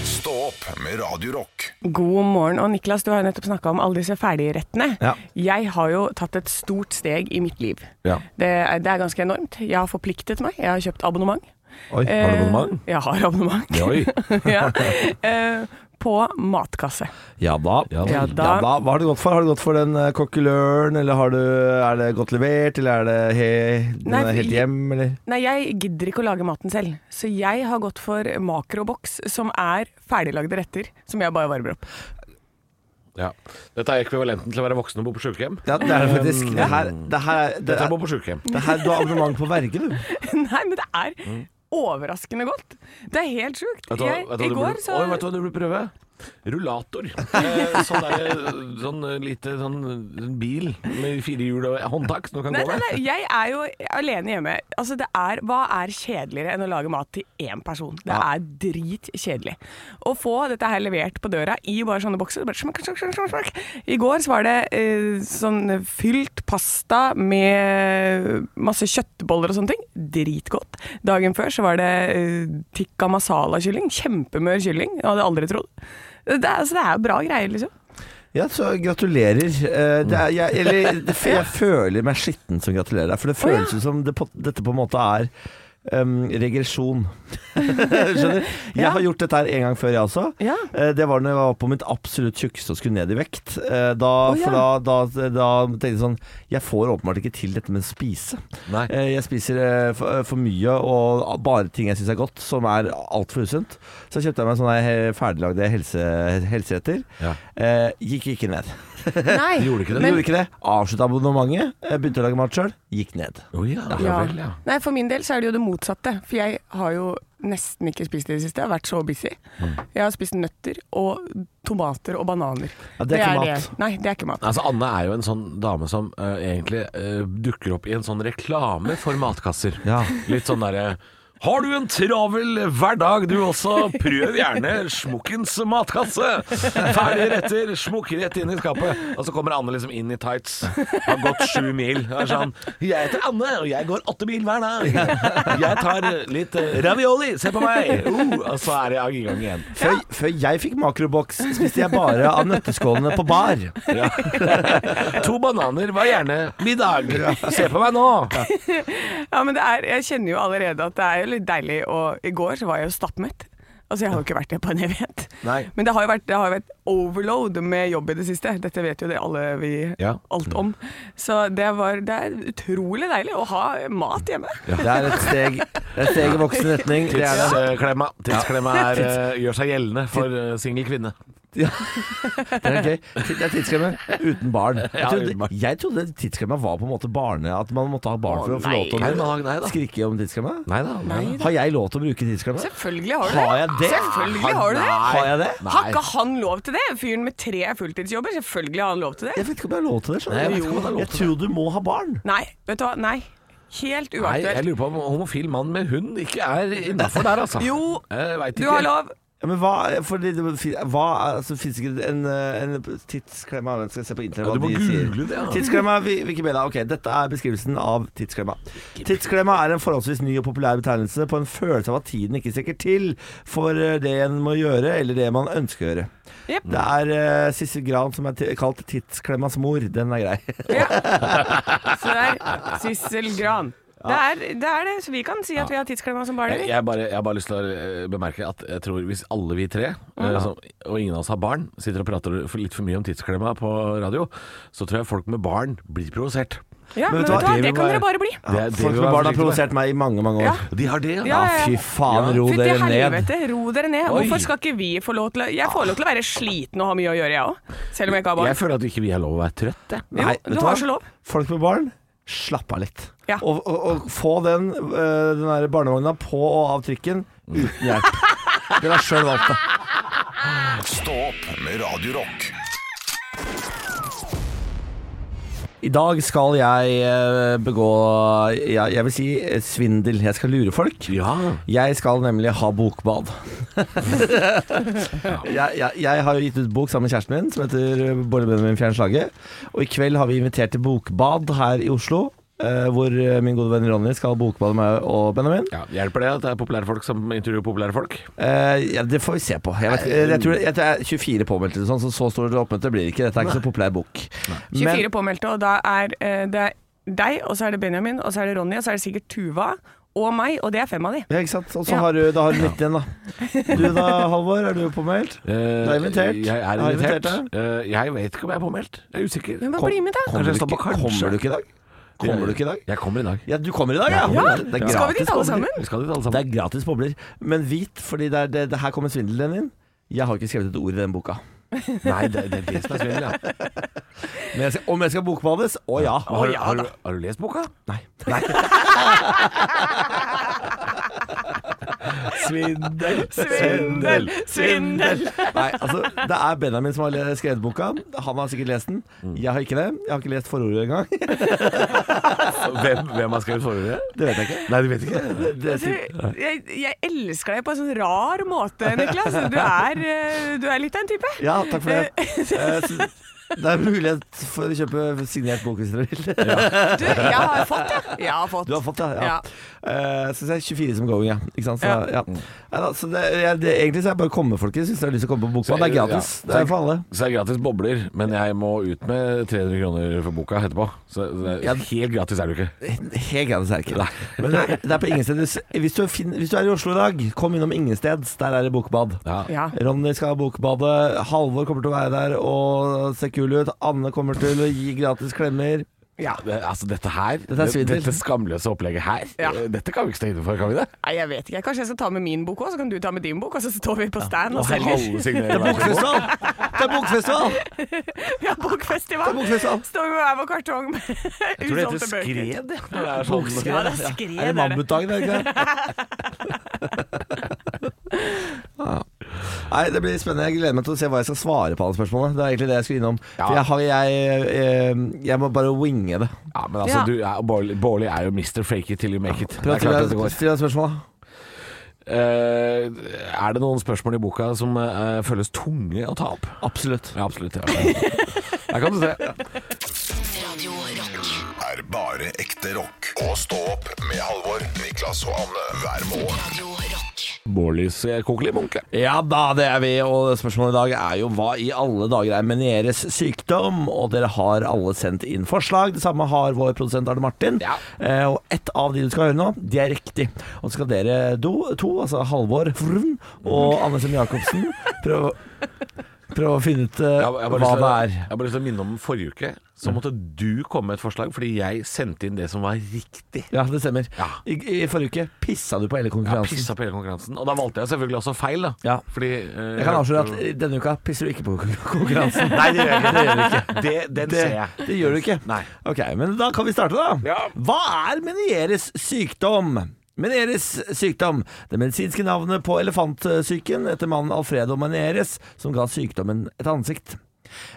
Speaker 2: Stå opp med Radio Rock.
Speaker 5: God morgen. Og Niklas, du har jo nettopp snakka om alle disse ferdigrettene.
Speaker 3: Ja.
Speaker 5: Jeg har jo tatt et stort steg i mitt liv.
Speaker 4: Ja.
Speaker 5: Det, er, det er ganske enormt. Jeg har forpliktet meg. Jeg har kjøpt abonnement.
Speaker 3: Oi, har du abonnement?
Speaker 5: Eh, Jeg har abonnement.
Speaker 4: Oi.
Speaker 5: ja. eh, på matkasse.
Speaker 3: Ja da. Ja
Speaker 5: da.
Speaker 3: Hva har du gått for? Har du gått for den eh, kokkeløren, eller har du, er det godt levert, eller er det he, den
Speaker 5: Nei,
Speaker 3: er
Speaker 5: vi-
Speaker 3: helt hjem, eller?
Speaker 5: Nei, jeg gidder ikke å lage maten selv, så jeg har gått for makroboks, som er ferdiglagde retter som jeg bare varmer opp.
Speaker 4: Ja. Dette er ekvivalenten til å være voksen og bo på sjukehjem.
Speaker 3: Ja, det er det faktisk. Det her, det her, det
Speaker 4: Dette er å
Speaker 3: er,
Speaker 4: bo på sjukehjem.
Speaker 3: det her Du har abonnement på Verge, du.
Speaker 5: Nei, men det er overraskende godt. Det er helt sjukt.
Speaker 4: Mm. Vet du hva-
Speaker 5: Jeg-
Speaker 4: vet du hva
Speaker 5: I
Speaker 4: du
Speaker 5: går
Speaker 4: burde-
Speaker 5: så
Speaker 4: Oi, vet du hva du burde prøve? Rullator. Eh, Sånn, der, sånn lite sånn en bil med fire hjul og håndtak som du kan
Speaker 5: Nei,
Speaker 4: gå
Speaker 5: nei,
Speaker 4: med.
Speaker 5: nei, jeg er jo alene hjemme. Altså, det er, hva er kjedeligere enn å lage mat til én person? Det er dritkjedelig. Å få dette her levert på døra i bare sånne bokser bare smakk, smakk, smakk, smakk, smakk. I går så var det eh, sånn fylt pasta med masse kjøttboller og sånne ting. Dritgodt. Dagen før så var det eh, tikka masala-kylling. Kjempemør kylling. Jeg hadde aldri trodd. Det er, altså, det er jo bra greier, liksom.
Speaker 3: Ja, så gratulerer. Eh, Det er, jeg, eller, det, jeg føler meg skitten som gratulerer deg, for det føles ut som det, på- dette på en måte er em, regresjon. Skjønner? Jeg har gjort dette her en gang før, jeg også.
Speaker 5: Ja.
Speaker 3: Eh, Det var når jeg var på mitt absolutt tjukkeste og skulle ned i vekt. Eh, Da,
Speaker 5: Å, ja.
Speaker 3: for da, da, da tenkte jeg sånn Jeg får åpenbart ikke til dette med å spise.
Speaker 4: Nei.
Speaker 3: Eh, Jeg spiser eh, for, for mye og bare ting jeg syns er godt, som er altfor usunt. Så kjøpte jeg meg sånne he- ferdiglagde helse, helseretter.
Speaker 4: Ja.
Speaker 3: Eh, Gikk ikke ned.
Speaker 5: Nei,
Speaker 4: Eh, Gjorde ikke det?
Speaker 3: Gjorde ikke det. Avslutta abonnementet, eh, begynte å lage mat sjøl, gikk ned.
Speaker 4: Å ja,
Speaker 5: Ja.
Speaker 4: ja vel, ja.
Speaker 5: Nei, for min del så er det jo det motsatte. For jeg har jo nesten ikke spist det i det siste. Jeg har vært så busy.
Speaker 3: Mm.
Speaker 5: Jeg har spist nøtter og tomater og bananer.
Speaker 3: Ja, det er ikke mat.
Speaker 5: Nei, det er ikke mat.
Speaker 4: Altså, Anne er jo en sånn dame som eh, egentlig eh, dukker opp i en sånn reklame for matkasser.
Speaker 3: Ja.
Speaker 4: Litt sånn derre Har du en travel hverdag du også, prøv gjerne Smukkens matkasse. Ferdige retter, smukk rett inn i skapet. Og så kommer Anne liksom inn i tights. Har gått sju mil. Og er sånn Jeg heter Anne, og jeg går åtte mil hver dag. Jeg tar litt eh, ravioli, se på meg. Uh, og så er jeg i gang igjen.
Speaker 3: Før, før jeg fikk makroboks, spiste jeg bare av nøtteskålene på bar.
Speaker 4: Ja. To bananer var gjerne middag. Se på meg nå.
Speaker 5: Ja, men det er, jeg kjenner jo allerede at det er jo litt deilig, og i går så var jeg jo stappmett. Altså, jeg har jo ikke vært det på en evighet.
Speaker 4: Nei.
Speaker 5: Men det har jo vært, det har jo vært overload med jobb i det siste. Dette vet jo det alle vi
Speaker 4: Ja.
Speaker 5: alt om. Så det, var, det er utrolig deilig å ha mat hjemme.
Speaker 3: Det er et steg, det er et steg i voksen retning. Det er det.
Speaker 4: Tidsklemma eh, tidsklemma er, eh, gjør seg gjeldende for eh, singel kvinne.
Speaker 3: Ja. Det er gøy. Det er tidskremme uten barn. Jeg
Speaker 4: Ja, uten
Speaker 3: trodde,
Speaker 4: barn.
Speaker 3: jeg trodde tidskremma var på en måte barne... At man måtte ha barn for å få lov
Speaker 4: Nei,
Speaker 3: til
Speaker 4: nei, nei
Speaker 3: å
Speaker 4: da.
Speaker 3: skrike om tidskremma?
Speaker 4: Nei da. Nei. da.
Speaker 3: Har jeg lov til å bruke tidskremma?
Speaker 5: Selvfølgelig har du det.
Speaker 3: Har jeg det?
Speaker 5: Selvfølgelig har du det.
Speaker 4: Nei.
Speaker 3: Har jeg det?
Speaker 5: Har ikke han lov til det? Fyren med tre fulltidsjobber, selvfølgelig har han lov til det.
Speaker 3: Jeg vet ikke om jeg har lov til det. skjønner
Speaker 4: Nei, jeg vet
Speaker 3: du.
Speaker 4: ikke om jeg har lov
Speaker 3: jeg tror du må ha barn.
Speaker 5: Nei, vet du hva? Nei. Helt
Speaker 4: Nei, jeg
Speaker 5: uaktuelt.
Speaker 4: lurer på om homofil mann med hund ikke er innafor der, altså.
Speaker 5: Jo,
Speaker 4: Jeg vet
Speaker 5: du
Speaker 4: ikke.
Speaker 5: har lov.
Speaker 3: Ja, men hva, fordi det, hva altså, Fins ikke en, eh, en tidsklemma Vent, skal jeg se på internett
Speaker 4: Ja,
Speaker 3: hva
Speaker 4: du må
Speaker 3: de sier.
Speaker 4: google det, ja.
Speaker 3: Tidsklemma Wi- Wikipedia. Ok, dette er beskrivelsen av tidsklemma. Tidsklemma er en forholdsvis ny og populær betegnelse på en følelse av at tiden ikke strekker til for eh, det en må gjøre, eller det man ønsker å gjøre.
Speaker 5: Jep.
Speaker 4: Mm.
Speaker 3: Det er eh, Sissel Gran som er ti- kalt tidsklemmas mor. Den er grei.
Speaker 5: Ja. Så der. Sissel Gran. Det er, det er det, så vi kan si at vi har tidsklemma som barn.
Speaker 4: Jeg,
Speaker 5: eller?
Speaker 4: jeg, bare, jeg har bare lyst til å eh, bemerke at jeg tror hvis alle vi tre, eh, som- og ingen av oss har barn, sitter og prater for litt for mye om tidsklemma på radio, så tror jeg folk med barn blir provosert.
Speaker 5: Ja,
Speaker 3: Men vet du
Speaker 5: men vet
Speaker 3: hva?
Speaker 5: du hva,
Speaker 3: Det
Speaker 5: det
Speaker 3: vil
Speaker 5: kan
Speaker 3: være-
Speaker 5: dere bare bli.
Speaker 4: Det- det vil
Speaker 3: Folk
Speaker 4: være
Speaker 3: med barn har
Speaker 4: forsiktig med.
Speaker 3: provosert meg i mange, mange år.
Speaker 5: Ja.
Speaker 4: De har det,
Speaker 5: Ja, ja, ja.
Speaker 3: Fy faen,
Speaker 4: Ja.
Speaker 3: ro
Speaker 5: Fytti
Speaker 3: dere ned.
Speaker 5: helvete, ro dere ned.
Speaker 4: Oi.
Speaker 5: Hvorfor skal ikke vi få lov til å Jeg får lov til å være sliten og ha mye å gjøre, jeg òg. Selv om jeg ikke har
Speaker 4: Jeg
Speaker 5: barn.
Speaker 4: føler at ikke vi har lov å være trøtt, jeg.
Speaker 5: Jo,
Speaker 3: Nei,
Speaker 5: du
Speaker 3: vet
Speaker 5: har
Speaker 3: hva?
Speaker 5: så lov.
Speaker 3: Folk med barn, slapp av litt.
Speaker 5: Ja.
Speaker 3: Og, og, og få den, øh, den der barnevogna på og av trikken uten hjelp. Dere har sjøl valgt det.
Speaker 2: Stå opp med Radio Rock.
Speaker 3: I dag skal jeg øh, begå jeg, jeg vil si eh, svindel. Jeg skal lure folk.
Speaker 4: Ja.
Speaker 3: Jeg skal nemlig ha bokbad. jeg, jeg, jeg har jo gitt ut bok sammen med kjæresten min, som heter eh, Bård Benjamin Fjern Slage. Og i kveld har vi invitert til bokbad her i Oslo, eh, hvor eh, min gode venn Ronny skal bokbade meg og Benjamin.
Speaker 4: ja. Hjelper det at det er populære folk som intervjuer populære folk?
Speaker 3: Eh, ja, det får vi se på. Jeg, vet, eh, jeg, tror, jeg tror det er 24 påmeldte, eller sånn, så så stort oppmøte blir det ikke. Dette er ikke så populær bok.
Speaker 5: 24 påmeldte, og da er eh, det er deg, og så er det Benjamin, og så er det Ronny, og så er det sikkert Tuva og meg, og det er fem av de.
Speaker 3: ja, ikke sant? Og så
Speaker 5: Ja.
Speaker 3: har du, da har du nytt igjen, da. Du da, Halvor, er du påmeldt? Du er invitert.
Speaker 4: Eh, Jeg er
Speaker 3: Har
Speaker 4: invitert.
Speaker 3: invitert
Speaker 4: Eh, jeg vet ikke om jeg er påmeldt. Jeg er usikker.
Speaker 5: Men
Speaker 4: Kom-
Speaker 5: bare bli med, da.
Speaker 4: Kanskje
Speaker 3: Kommer du
Speaker 4: jeg står
Speaker 3: ikke,
Speaker 4: på kanskje.
Speaker 3: kommer du ikke i dag? Kommer du ikke i dag?
Speaker 4: Jeg kommer i dag.
Speaker 3: Ja, du kommer i dag, ja!
Speaker 4: Ja,
Speaker 3: Det er gratis
Speaker 5: Skal vi dit alle
Speaker 3: bobler.
Speaker 5: sammen?
Speaker 4: Vi skal dit alle
Speaker 3: Det
Speaker 4: sammen.
Speaker 3: er gratis bobler. Men vit, fordi det er det, det her kommer svindelen din. Jeg har ikke skrevet et ord i den boka.
Speaker 4: Nei, det, det er det som er svindel, ja.
Speaker 3: Men jeg skal, om jeg skal bokbades? Å ja.
Speaker 4: Har, du- har, du- har du lest boka?
Speaker 3: Nei.
Speaker 4: Svindel,
Speaker 5: Svindel, svindel!
Speaker 3: Nei, altså, det er Benjamin som har le- skrevet boka. Han har sikkert lest den.
Speaker 4: Mm.
Speaker 3: Jeg har ikke det. Jeg har ikke lest forordet engang. Det
Speaker 4: Hvem, hvem har skrevet forordet?
Speaker 3: vet jeg ikke.
Speaker 4: Nei, du vet ikke.
Speaker 3: Det,
Speaker 5: Du, jeg, jeg elsker deg på en sånn rar måte, Niklas. Du er, eh, du er litt av en type.
Speaker 3: ja, takk for det. Eh, så Det er mulighet for å kjøpe signert bok hvis dere vil.
Speaker 5: Du, jeg har fått, ja. Jeg har fått.
Speaker 3: Du har fått det, ja. ja. Eh, så det er 24 som going, ja. Ikke sant? Så,
Speaker 5: Ja.
Speaker 3: ja. Mm. Nei da, så det, jeg, det, egentlig så er det bare å komme, folkens. Hvis dere har lyst til å komme på Bokbad. Det er gratis.
Speaker 4: Ja.
Speaker 3: Det er for alle.
Speaker 4: Så det er gratis bobler, men jeg må ut med 300 kroner for boka etterpå. Så det er, helt gratis er du ikke.
Speaker 3: Helt gratis er det ikke. Men det er, det er på Ingensteds. Hvis du, fin- hvis du er i Oslo i dag, kom innom Ingensteds. Der er det bokbad.
Speaker 4: Ja.
Speaker 5: Ja.
Speaker 3: Ronny skal ha bokbadet. Halvor kommer til å være der og se kul ut. Anne kommer til å gi gratis klemmer.
Speaker 5: ja.
Speaker 4: Det, altså dette her,
Speaker 3: Dette er svindel.
Speaker 4: dette skamløse opplegget her,
Speaker 5: Ja.
Speaker 4: eh, dette kan vi ikke stå inne for, kan vi det?
Speaker 5: Nei, jeg vet ikke. Kanskje jeg skal ta med min bok òg, så kan du ta med din bok, og så står vi på stand og
Speaker 4: Altså, Alle
Speaker 5: selger.
Speaker 4: signerer hver sin bok.
Speaker 3: Bokfestival! Det er bokfestival!
Speaker 5: Vi
Speaker 3: Det
Speaker 5: har
Speaker 3: er
Speaker 5: bokfestival.
Speaker 3: bokfestival.
Speaker 5: Står vi med hver vår kartong med usolgte bøker.
Speaker 4: ja. Når det er sånn.
Speaker 5: Ja, det er skred,
Speaker 3: Er det
Speaker 5: er det.
Speaker 3: mammutdagen, er det ikke det? Ja. Nei, Det blir spennende. Jeg gleder meg til å se hva jeg skal svare på alle spørsmålene. Det er egentlig det jeg skulle innom.
Speaker 4: Ja.
Speaker 3: For jeg, har, jeg, eh, jeg må bare winge det.
Speaker 4: Ja, men altså,
Speaker 5: Ja.
Speaker 4: du er, Bårli, Bårli er jo Mr. Fake it till you make it. Det er
Speaker 3: Prøv å
Speaker 4: klart at det
Speaker 3: stille
Speaker 4: går.
Speaker 3: stille deg et spørsmål, da.
Speaker 4: Eh, er det noen spørsmål i boka som eh, føles tunge å ta opp?
Speaker 3: Absolutt.
Speaker 4: Ja, absolutt. Ja. Der kan du se.
Speaker 1: Radio Rock.
Speaker 2: er bare ekte rock. Og stå opp med Halvor, Niklas og Anne hver morgen.
Speaker 1: Radio Rock.
Speaker 4: Bårlis eh, kokelige munke.
Speaker 3: Ja da, det er vi, og spørsmålet i dag er jo hva i alle dager er menieres sykdom? Og dere har alle sendt inn forslag. Det samme har vår produsent Arne Martin.
Speaker 4: Ja.
Speaker 3: Eh, og ett av de du skal høre nå, de er riktig. Og så skal dere do, to, altså Halvor Frun
Speaker 4: Mm.
Speaker 3: og Anne Sem Jacobsen, prøve prøve å finne ut eh,
Speaker 4: Jeg har, jeg, har bare
Speaker 3: hva
Speaker 4: lyst til,
Speaker 3: det
Speaker 4: å-
Speaker 3: er. Mm.
Speaker 4: jeg har bare lyst til å minne om forrige uke. Så måtte du komme med et forslag, fordi jeg sendte inn det som var riktig.
Speaker 3: Ja, det stemmer.
Speaker 4: Ja.
Speaker 3: I, I forrige uke pissa du på hele
Speaker 4: Jeg har
Speaker 3: konkurransen.
Speaker 4: pissa på hele konkurransen. Og da valgte jeg selvfølgelig også feil, da.
Speaker 3: Ja.
Speaker 4: Fordi eh,
Speaker 3: jeg kan avsløre at denne uka pisser du ikke på konkurransen.
Speaker 4: Nei, det gjør jeg ikke. Det gjør jeg ikke. Det, den
Speaker 3: Det,
Speaker 4: ser jeg.
Speaker 3: det gjør du ikke.
Speaker 4: Nei.
Speaker 3: Ok, men da kan vi starte, da.
Speaker 4: Ja.
Speaker 3: Hva er menieres sykdom? Menieres sykdom, det medisinske navnet på elefantsyken etter mannen Alfredo Menieres, som ga sykdommen et ansikt.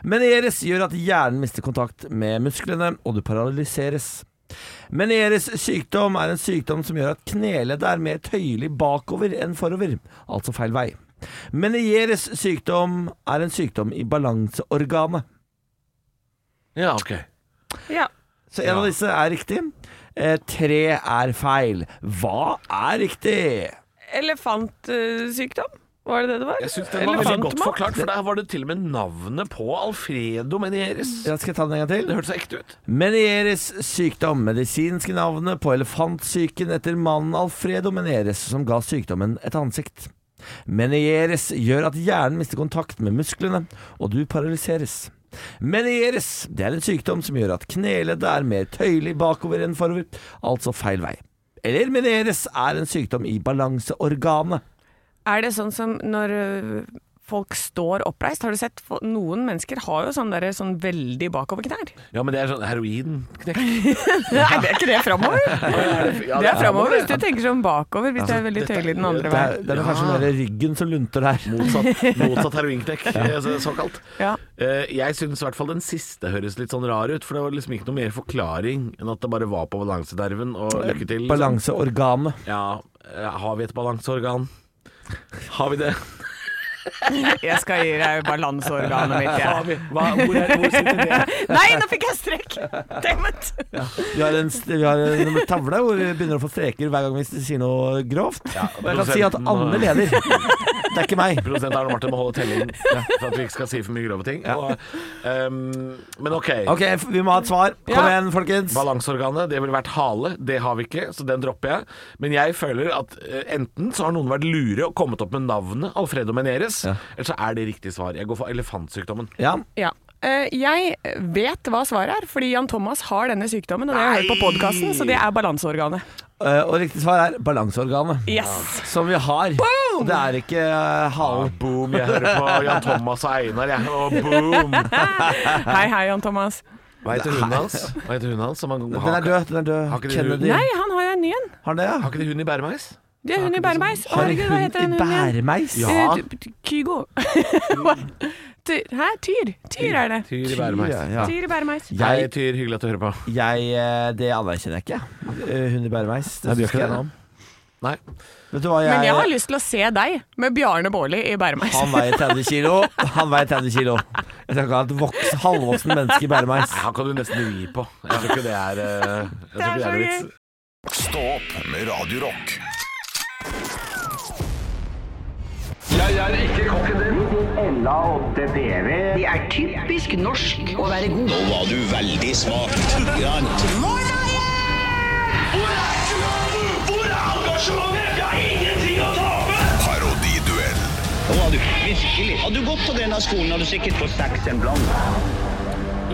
Speaker 3: Menieres gjør at hjernen mister kontakt med musklene, og du paralyseres. Menieres sykdom er en sykdom som gjør at kneleddet er mer tøyelig bakover enn forover, altså feil vei. Menieres sykdom er en sykdom i balanseorganet.
Speaker 4: Ja, ok.
Speaker 5: Ja.
Speaker 3: Så en av disse er riktig. Eh, tre er feil. Hva er riktig?
Speaker 5: Elefantsykdom? Var det det det var?
Speaker 4: Jeg syns den var veldig godt
Speaker 5: Elefantmat?
Speaker 4: forklart, for der var det til og med navnet på Alfredo Menieres.
Speaker 3: Ja, skal jeg ta den en gang til?
Speaker 4: Det hørtes så ekte ut.
Speaker 3: Menieres sykdom. Medisinske navnet på elefantsyken etter mannen Alfredo Menieres, som ga sykdommen et ansikt. Menieres gjør at hjernen mister kontakt med musklene, og du paralyseres. Menieres det er en sykdom som gjør at kneleddet er mer tøyelig bakover enn forover, altså feil vei. Eller menieres er en sykdom i balanseorganet.
Speaker 5: Er det sånn som når ø, folk står oppreist? Har du sett? Fo- Noen mennesker har jo sånn, derre sånn veldig bakover knær.
Speaker 4: Ja, men det er sånn heroinknekk.
Speaker 5: Nei, det er ikke det framover.
Speaker 4: Ja, Altså,
Speaker 5: Det er framover hvis du tenker sånn bakover, hvis du er veldig tøyelig den andre
Speaker 3: Det
Speaker 5: veien.
Speaker 3: er, det er kanskje mer ryggen som lunter her.
Speaker 4: Motsatt, motsatt heroinknekk, eh, så- såkalt.
Speaker 5: Ja.
Speaker 4: Eh, Jeg syns i hvert fall den siste høres litt sånn rar ut, for det var liksom ikke noe mer forklaring enn at det bare var på balansenerven, og lykke til. liksom.
Speaker 3: Balanseorganet.
Speaker 4: Ja, eh, har vi et balanseorgan? Har vi det?
Speaker 5: Jeg skal gi deg balanseorganet mitt,
Speaker 4: Har
Speaker 5: jeg.
Speaker 4: vi? Hva, hvor, er, hvor sitter det?
Speaker 5: Nei, nå fikk jeg strekk! Dammit!
Speaker 3: Vi har en, vi har en tavle hvor vi begynner å få streker hver gang vi sier noe grovt. og jeg kan si at
Speaker 4: prosenten og-
Speaker 3: Anne leder. Det er ikke meg.
Speaker 4: Produsent Arne Martin må holde telling for at vi ikke skal si for mye grove ting. Og, ehm, men ok.
Speaker 3: Ok, vi må ha et svar. Kom
Speaker 5: Ja.
Speaker 3: igjen, folkens.
Speaker 4: Balanseorganet, det ville vært hale. Det har vi ikke, så den dropper jeg. Men jeg føler at eh, enten så har noen vært lure og kommet opp med navnet Alfredo Meneres, eller så er det riktig svar. Jeg går for elefantsykdommen.
Speaker 3: Ja.
Speaker 5: Ja. Eh, Jeg vet hva svaret er, fordi Jan Thomas har denne sykdommen. Og det har jeg hørt på podkasten, så det er balanseorganet.
Speaker 3: eh, Og riktig svar er balanseorganet.
Speaker 5: Yes!
Speaker 3: Som vi har. Og det er ikke eh, halen.
Speaker 4: Boom, jeg hører på Jan Thomas og Einar, jeg. Og boom!
Speaker 5: Hei, hei, Jan Thomas.
Speaker 4: Hva heter hunden hans? Hva heter hunden hans? Som han,
Speaker 3: Den er
Speaker 4: har,
Speaker 3: død. Den er
Speaker 4: Har
Speaker 3: død.
Speaker 4: ikke de
Speaker 3: Kennedy.
Speaker 5: Nei, han har jo en ny en.
Speaker 3: Har han det, ja?
Speaker 4: har ikke de hund i bæremeis?
Speaker 5: Det er hun i bæremeis. Å, herregud, hva heter den
Speaker 3: i
Speaker 5: hunden igjen?
Speaker 3: bæremeis?
Speaker 4: Ja.
Speaker 5: Eh, t- t- Kygo. Ty- Hæ? Tyr? Tyr er det.
Speaker 4: Tyr i bæremeis.
Speaker 3: Ja, ja.
Speaker 5: Tyr i bæremeis.
Speaker 4: Hei,
Speaker 3: Jeg,
Speaker 4: Tyr. Hyggelig at du hører på.
Speaker 3: jeg, eh, det anerkjenner jeg ikke. Eh, Hun i bæremeis. Det
Speaker 4: du gjør
Speaker 3: synes
Speaker 4: ikke
Speaker 3: jeg
Speaker 4: det.
Speaker 3: noe om.
Speaker 4: Nei.
Speaker 3: Vet du hva jeg
Speaker 5: Men jeg har lyst til å se deg med Bjarne Baarli i bæremeis.
Speaker 3: Han veier 30 kilo. Han veier 30 kilo. Jeg skal ikke ha et voks, halvvoksen menneske bære meg.
Speaker 4: Han kan du nesten ri på. Jeg tror ikke det er eh, Jeg tror ikke det er noe vits.
Speaker 2: Stå opp med Radio Rock.
Speaker 8: Ella 8 PV. Det er typisk norsk å være god.
Speaker 9: Nå var du veldig smak. Grann. Hvor er engasjementet? Hvor er engasjementet? Jeg har ingenting å tape!
Speaker 2: Parodiduell.
Speaker 9: Nå var du virkelig. Hadde du gått på denne skolen, hadde du sikkert fått seks en blant.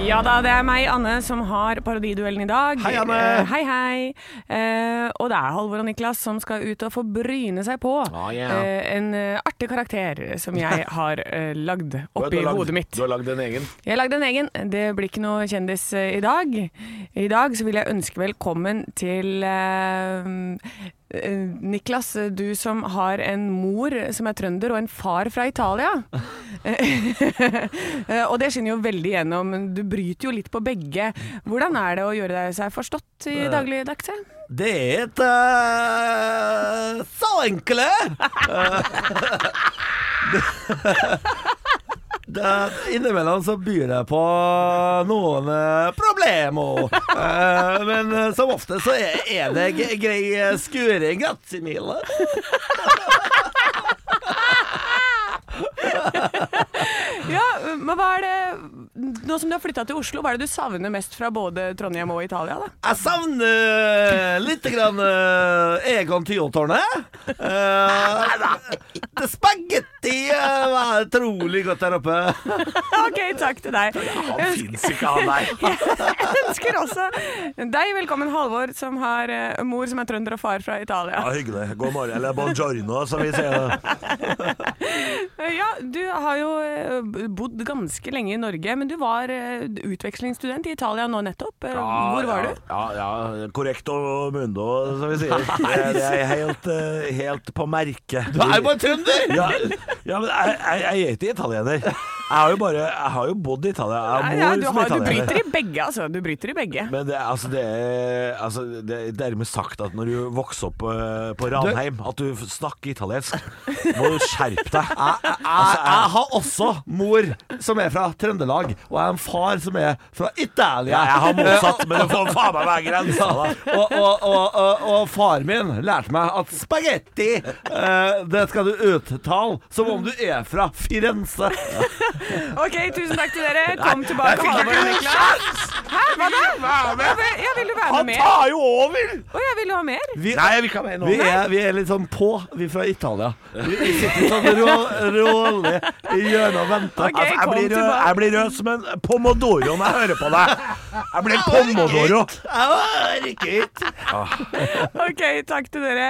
Speaker 5: Ja da, det er meg, Anne, som har parodiduellen i dag.
Speaker 3: Hei, Anne!
Speaker 5: Eh, hei, hei. Eh, og det er Halvor og Niklas som skal ut og få bryne seg på
Speaker 4: Ah, ja.
Speaker 5: eh, en eh, artig karakter som jeg har eh, lagd
Speaker 4: Du har-
Speaker 5: oppi
Speaker 4: du har lagd-
Speaker 5: hodet mitt.
Speaker 4: Du har lagd en egen.
Speaker 5: Jeg lagde en egen. Det blir ikke noe kjendis eh, i dag. I dag så vil jeg ønske velkommen til eh, eh, Niklas, du som har en mor som er trønder og en far fra Italia. Eh, og det skinner jo veldig gjennom. Du bryter jo litt på begge. Hvordan er det å gjøre deg seg forstått i dagligdagse?
Speaker 3: Det er et eh, Så enkle! Eh, det, det, innimellom så byr det på noen eh, problemer. Eh, men eh, som ofte så er, er det g- grei eh, skuring, grazie mille.
Speaker 5: Ja, men hva er det Nå som du har flytta til Oslo, hva er det du savner mest fra både Trondheim og Italia, da?
Speaker 3: Jeg savner litt grann eh, Egon Tyholtårnet. Eh, det spagetti eh, var utrolig godt der oppe.
Speaker 5: OK, takk til deg.
Speaker 4: Han fins ikke, han der.
Speaker 5: Jeg ønsker også deg velkommen, Halvor, som har eh, mor som er trønder og far fra Italia.
Speaker 10: hyggelig. God morgen, eller buongiorno, som vi sier det.
Speaker 5: Eh, Ja, du har jo eh, bodd ganske lenge i Norge, men du var eh, utvekslingsstudent i Italia nå nettopp. Eh, Hvor var du?
Speaker 10: Ja, ja, correcto mundo, som vi sier. Det, det er helt, eh, helt på merket.
Speaker 3: Du er jo bare trønder!
Speaker 10: Ja, ja, men jeg, jeg, jeg er ikke italiener. Jeg har jo bare Jeg har jo bodd i Italia. Jeg
Speaker 5: Nei,
Speaker 10: har
Speaker 5: ja,
Speaker 10: mor
Speaker 5: du,
Speaker 10: som
Speaker 5: har, du
Speaker 10: italiener.
Speaker 5: bryter i begge, altså. Du bryter i begge.
Speaker 10: Men det, er- altså, det er altså, det er dermed sagt at når du vokser opp eh, på Ranheim, at du snakker italiensk, må du skjerpe deg. Altså,
Speaker 3: jeg, jeg har også mor som er fra Trøndelag, og jeg har en far som er fra Italia.
Speaker 10: Ja, jeg har motsatt, men det får faen meg være grensa, da.
Speaker 3: og, og, og, og, og far min lærte meg at spagetti, eh, det skal du uttale som om du er fra Firenze.
Speaker 5: OK, tusen takk til dere. Kom tilbake, Halvor og Niklas. Hæ, hva da? Jeg vil, jeg vil jo være med mer.
Speaker 10: tar jo over!
Speaker 5: Å, jeg vil jo ha mer.
Speaker 3: Vi,
Speaker 10: Nei, jeg vil ikke ha med nå.
Speaker 3: vi, er, vi er litt sånn på, vi er fra Italia. Vi vi sitter sånn ro, rolig i hjørnet og venter. Altså,
Speaker 5: Ok.
Speaker 10: jeg,
Speaker 5: kom
Speaker 10: blir rød,
Speaker 5: tilbake.
Speaker 10: jeg blir rød som en pomodoro når jeg hører på deg. Jeg blir en pomodoro.
Speaker 5: Ok, takk til dere.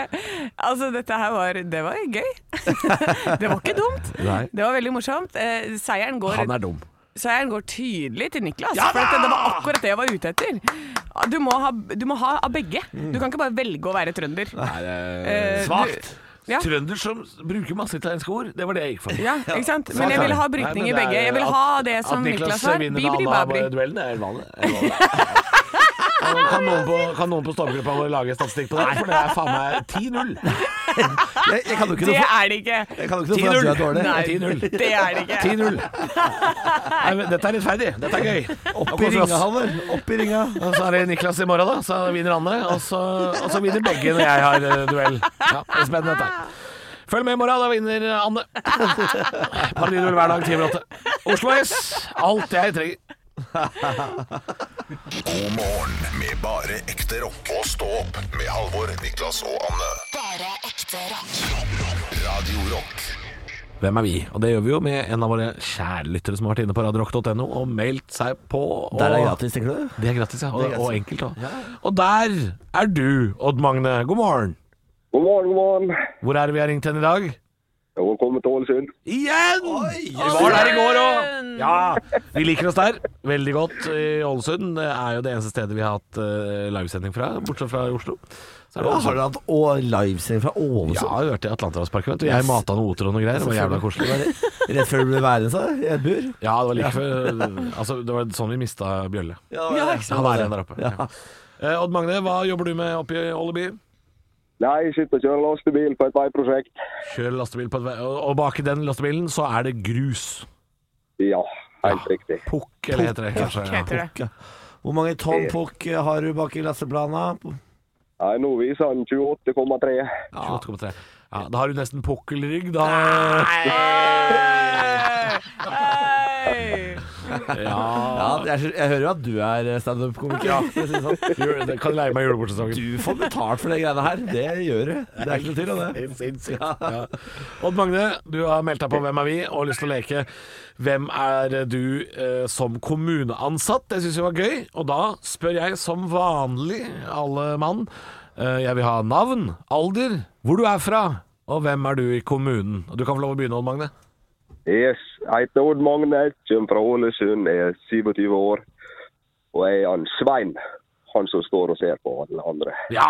Speaker 5: Altså, dette her var Det var gøy. det var ikke dumt.
Speaker 3: Nei.
Speaker 5: Det var veldig morsomt. Eh, seieren, går,
Speaker 4: Han er dum.
Speaker 5: seieren går tydelig til Niklas. for at det var akkurat det jeg var ute etter. Ah, Du må ha, du må ha av begge. Du kan ikke bare velge å være trønder.
Speaker 4: Nei, det
Speaker 5: Eh, du-
Speaker 3: Svakt.
Speaker 5: Ja.
Speaker 4: Trønder som bruker masse italienske ord. Det var det jeg gikk for.
Speaker 5: Ja, ikke sant? Men jeg vil ha brytning
Speaker 4: Nei, men det
Speaker 5: i
Speaker 4: er-
Speaker 5: begge. Jeg vil
Speaker 4: at-
Speaker 5: ha det som
Speaker 4: At Niklas,
Speaker 5: Niklas har.
Speaker 4: vinner
Speaker 5: Bibidi babri.
Speaker 4: Nana-duellen, er vanlig. Er vanlig. Kan- Kan noen på, kan noen på Stormgruppa vår lage statistikk på det? For det er faen meg 10-0.
Speaker 3: Jeg, jeg kan jo ikke
Speaker 5: Det
Speaker 3: noe for,
Speaker 5: er det ikke.
Speaker 3: jeg kan jo ikke noe for at du er dårlig.
Speaker 5: Nei,
Speaker 4: 10-0.
Speaker 5: det er det ikke.
Speaker 4: 10-0. Nei, men Dette er rettferdig. Dette er gøy.
Speaker 3: Opp i ringa, Halvor. Opp i ringa.
Speaker 4: Og så er det Niklas i morgen, da. Så vinner Anne. Og så, og så vinner begge når jeg har eh, duell. Ja, det er spennende dette her. Følg med i morgen, da vinner Anne. Parallellduell hver dag, 10 over 8. Oslo S. Alt jeg trenger.
Speaker 2: God morgen med bare ekte rock. Og stå opp med Halvor, Niklas og Anne.
Speaker 1: Bare ekte rock.
Speaker 2: Radio Rock.
Speaker 4: Hvem er vi? Og det gjør vi jo med en av våre kjærlyttere som har vært inne på radiorock.no og meldt seg på. Og
Speaker 3: Der er gratis, tenker du?
Speaker 4: Det er gratis, ja. Og,
Speaker 3: Det er gratis.
Speaker 4: og enkelt òg. Og der er du, Odd Magne. God morgen.
Speaker 7: God morgen, god morgen.
Speaker 4: Hvor er det vi har ringt hen i dag?
Speaker 7: Jeg har kommet til Ålesund.
Speaker 4: Igjen! Vi var der i går òg. Ja, vi liker oss der veldig godt i Ålesund. Det er jo det eneste stedet vi har hatt eh, livesending fra, bortsett fra i Oslo. Så er det
Speaker 3: Ja, har
Speaker 4: Ålesund.
Speaker 3: du hatt å- livesending fra Ålesund?
Speaker 4: Ja, jeg har vært i Atlanterhavsparken, vet du. Jeg mata noe oter og noe greier. Det var jævla koselig.
Speaker 3: Rett før du ble værende, sa jeg, i et bur?
Speaker 4: Ja, det var like før Altså, det var sånn vi mista Bjølle.
Speaker 5: Ja, ikke sant?
Speaker 4: Han er igjen der oppe. Ja. Eh, Odd Magne, hva jobber du med oppe i Åleby?
Speaker 7: Nei, jeg sitter og kjører lastebil på et veiprosjekt.
Speaker 4: Kjører lastebil på et vei... Og og bak i den lastebilen så er det grus.
Speaker 7: Ja, helt riktig.
Speaker 4: Pukk, eller heter det kanskje. Ja.
Speaker 5: Heter det.
Speaker 3: Pukk, ja. Hvor mange tonn pukk har du bak i lasteplana?
Speaker 7: Nei, nå viser han 28,3.
Speaker 4: 28,3. Ja, da har du nesten pukkelrygg, da.
Speaker 5: Hei!
Speaker 4: Ja.
Speaker 3: Ja, jeg, jeg hører jo at du er eh, standup-komiker. for å si det sånn.
Speaker 4: Jule- det Kan leie meg i julebordsesongen.
Speaker 3: Du får betalt for de greiene her. Det gjør du. Det er ikke noe tvil om det.
Speaker 4: Ja. Odd Magne, du har meldt deg på Hvem er vi? og har lyst til å leke Hvem er du eh, som kommuneansatt? Det syns jeg var gøy. Og da spør jeg som vanlig alle mann. Eh, jeg vil ha navn, alder, hvor du er fra, og hvem er du i kommunen? Og Du kan få lov å begynne, Odd Magne.
Speaker 7: Yes, jeg heter Odd Magne, kommer fra Ålesund, er 27 år. Og jeg er han Svein.
Speaker 11: han som står og ser på alle andre.
Speaker 4: Ja,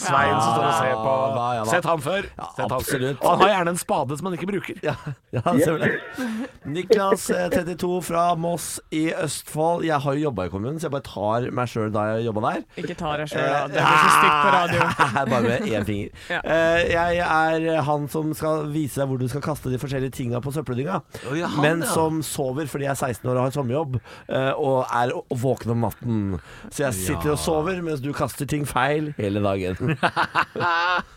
Speaker 4: Svein som står og ser på.
Speaker 11: Ja da, ja da.
Speaker 4: Sett han før. Sett han.
Speaker 3: absolutt.
Speaker 4: Han har gjerne en spade som han ikke bruker.
Speaker 3: Ja, selvfølgelig. Niklas, eh, 32, fra Moss i Østfold. Jeg har jo jobba i kommunen, så jeg bare tar meg sjøl da jeg jobba der.
Speaker 5: Ikke ta deg sjøl, da. Det
Speaker 4: Eh,
Speaker 5: blir så stygt på radio.
Speaker 3: Nei, Bare med én finger.
Speaker 5: Ja.
Speaker 3: Eh, Jeg er han som skal vise deg hvor du skal kaste de forskjellige tinga på søppeldynga.
Speaker 4: Å, ja, han,
Speaker 3: Men
Speaker 4: ja.
Speaker 3: som sover fordi jeg er 16 år og har sommerjobb, eh, og er å- våken om natten. Så jeg sitter og sover mens du kaster ting feil hele dagen.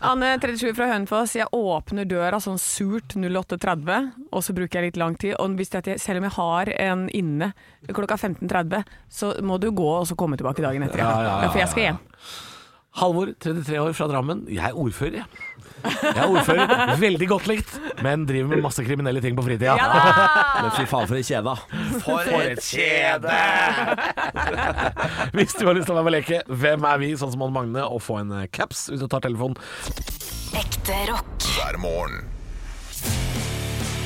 Speaker 5: Anne 37 fra Hønefoss. Jeg åpner døra sånn surt 08.30, og så bruker jeg litt lang tid. Og hvis det at jeg, selv om jeg har en inne klokka 15.30, så må du gå og så komme tilbake dagen etter.
Speaker 4: Ja, ja, ja,
Speaker 5: For jeg skal hjem.
Speaker 4: Halvor, 33 år, fra Drammen. Jeg er ordfører, jeg. Jeg er ordfører. Veldig godt likt, men driver med masse kriminelle ting på fritida.
Speaker 5: Ja da!
Speaker 3: Men fy faen, for en kjede. For
Speaker 4: et kjede! Hvis du har lyst til å være med og leke Hvem er vi, sånn som Anne Magne, og få en eh, caps hvis du tar telefonen.
Speaker 1: Ekte rock.
Speaker 2: hver morgen.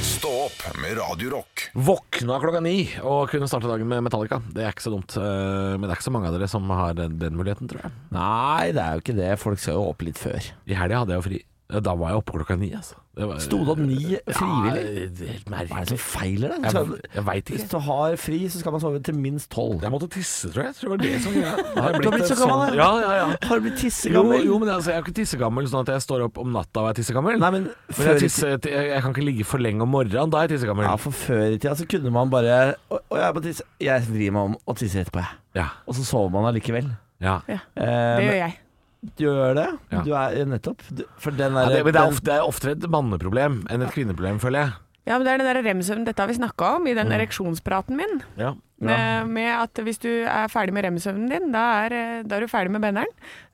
Speaker 2: Stå opp med Radio Rock.
Speaker 4: Våkna klokka ni og kunne starte dagen med Metallica. Det er ikke så dumt. eh, Men det er ikke så mange av dere som har den, den muligheten, tror jeg.
Speaker 3: Nei, det er jo ikke det. Folk skal jo opp litt før.
Speaker 4: I helga hadde jeg jo fri. Ja, Da var jeg oppe klokka ni, altså. Det var-
Speaker 3: Sto det opp ni frivillig?
Speaker 4: Ja, det er helt
Speaker 3: Hva er det som
Speaker 4: merkelig.
Speaker 3: feiler deg?
Speaker 4: Jeg, jeg veit ikke.
Speaker 3: Hvis du har fri, så skal man sove til minst tolv.
Speaker 4: Jeg måtte tisse, tror jeg. jeg tror det var det som greia. Da
Speaker 3: Du har blitt så gammel,
Speaker 4: sånn-
Speaker 3: da.
Speaker 4: Ja, ja, ja.
Speaker 3: Har du blitt
Speaker 4: Jo,
Speaker 3: tissegammel?
Speaker 4: jo, men altså, jeg er jo ikke tissegammel sånn at jeg står opp om natta og er tissegammel.
Speaker 3: Nei, men
Speaker 4: men jeg,
Speaker 3: før i
Speaker 4: tisse, jeg, jeg kan ikke ligge for lenge om morgenen, da er jeg tissegammel.
Speaker 3: Ja, for før i tida så kunne man bare Å, å, jeg er på tisse. Jeg vrir meg om og tisser etterpå, jeg.
Speaker 4: Ja,
Speaker 3: Og så sover man allikevel.
Speaker 4: ja.
Speaker 3: Eh,
Speaker 5: Det
Speaker 3: men
Speaker 5: gjør jeg.
Speaker 3: du gjør det?
Speaker 4: Ja.
Speaker 3: Du er eh, nettopp du, For den
Speaker 4: Ja,
Speaker 3: derre
Speaker 4: det, men det er, ofte, det er oftere et manneproblem enn et kvinneproblem, føler jeg.
Speaker 5: Ja, men det er den der remsøvnen, Dette har vi snakka om i den ereksjonspraten min.
Speaker 4: Mm. Ja.
Speaker 5: Med, med at hvis du er ferdig med remsøvnen din, da er, eh, da er du ferdig med benneren.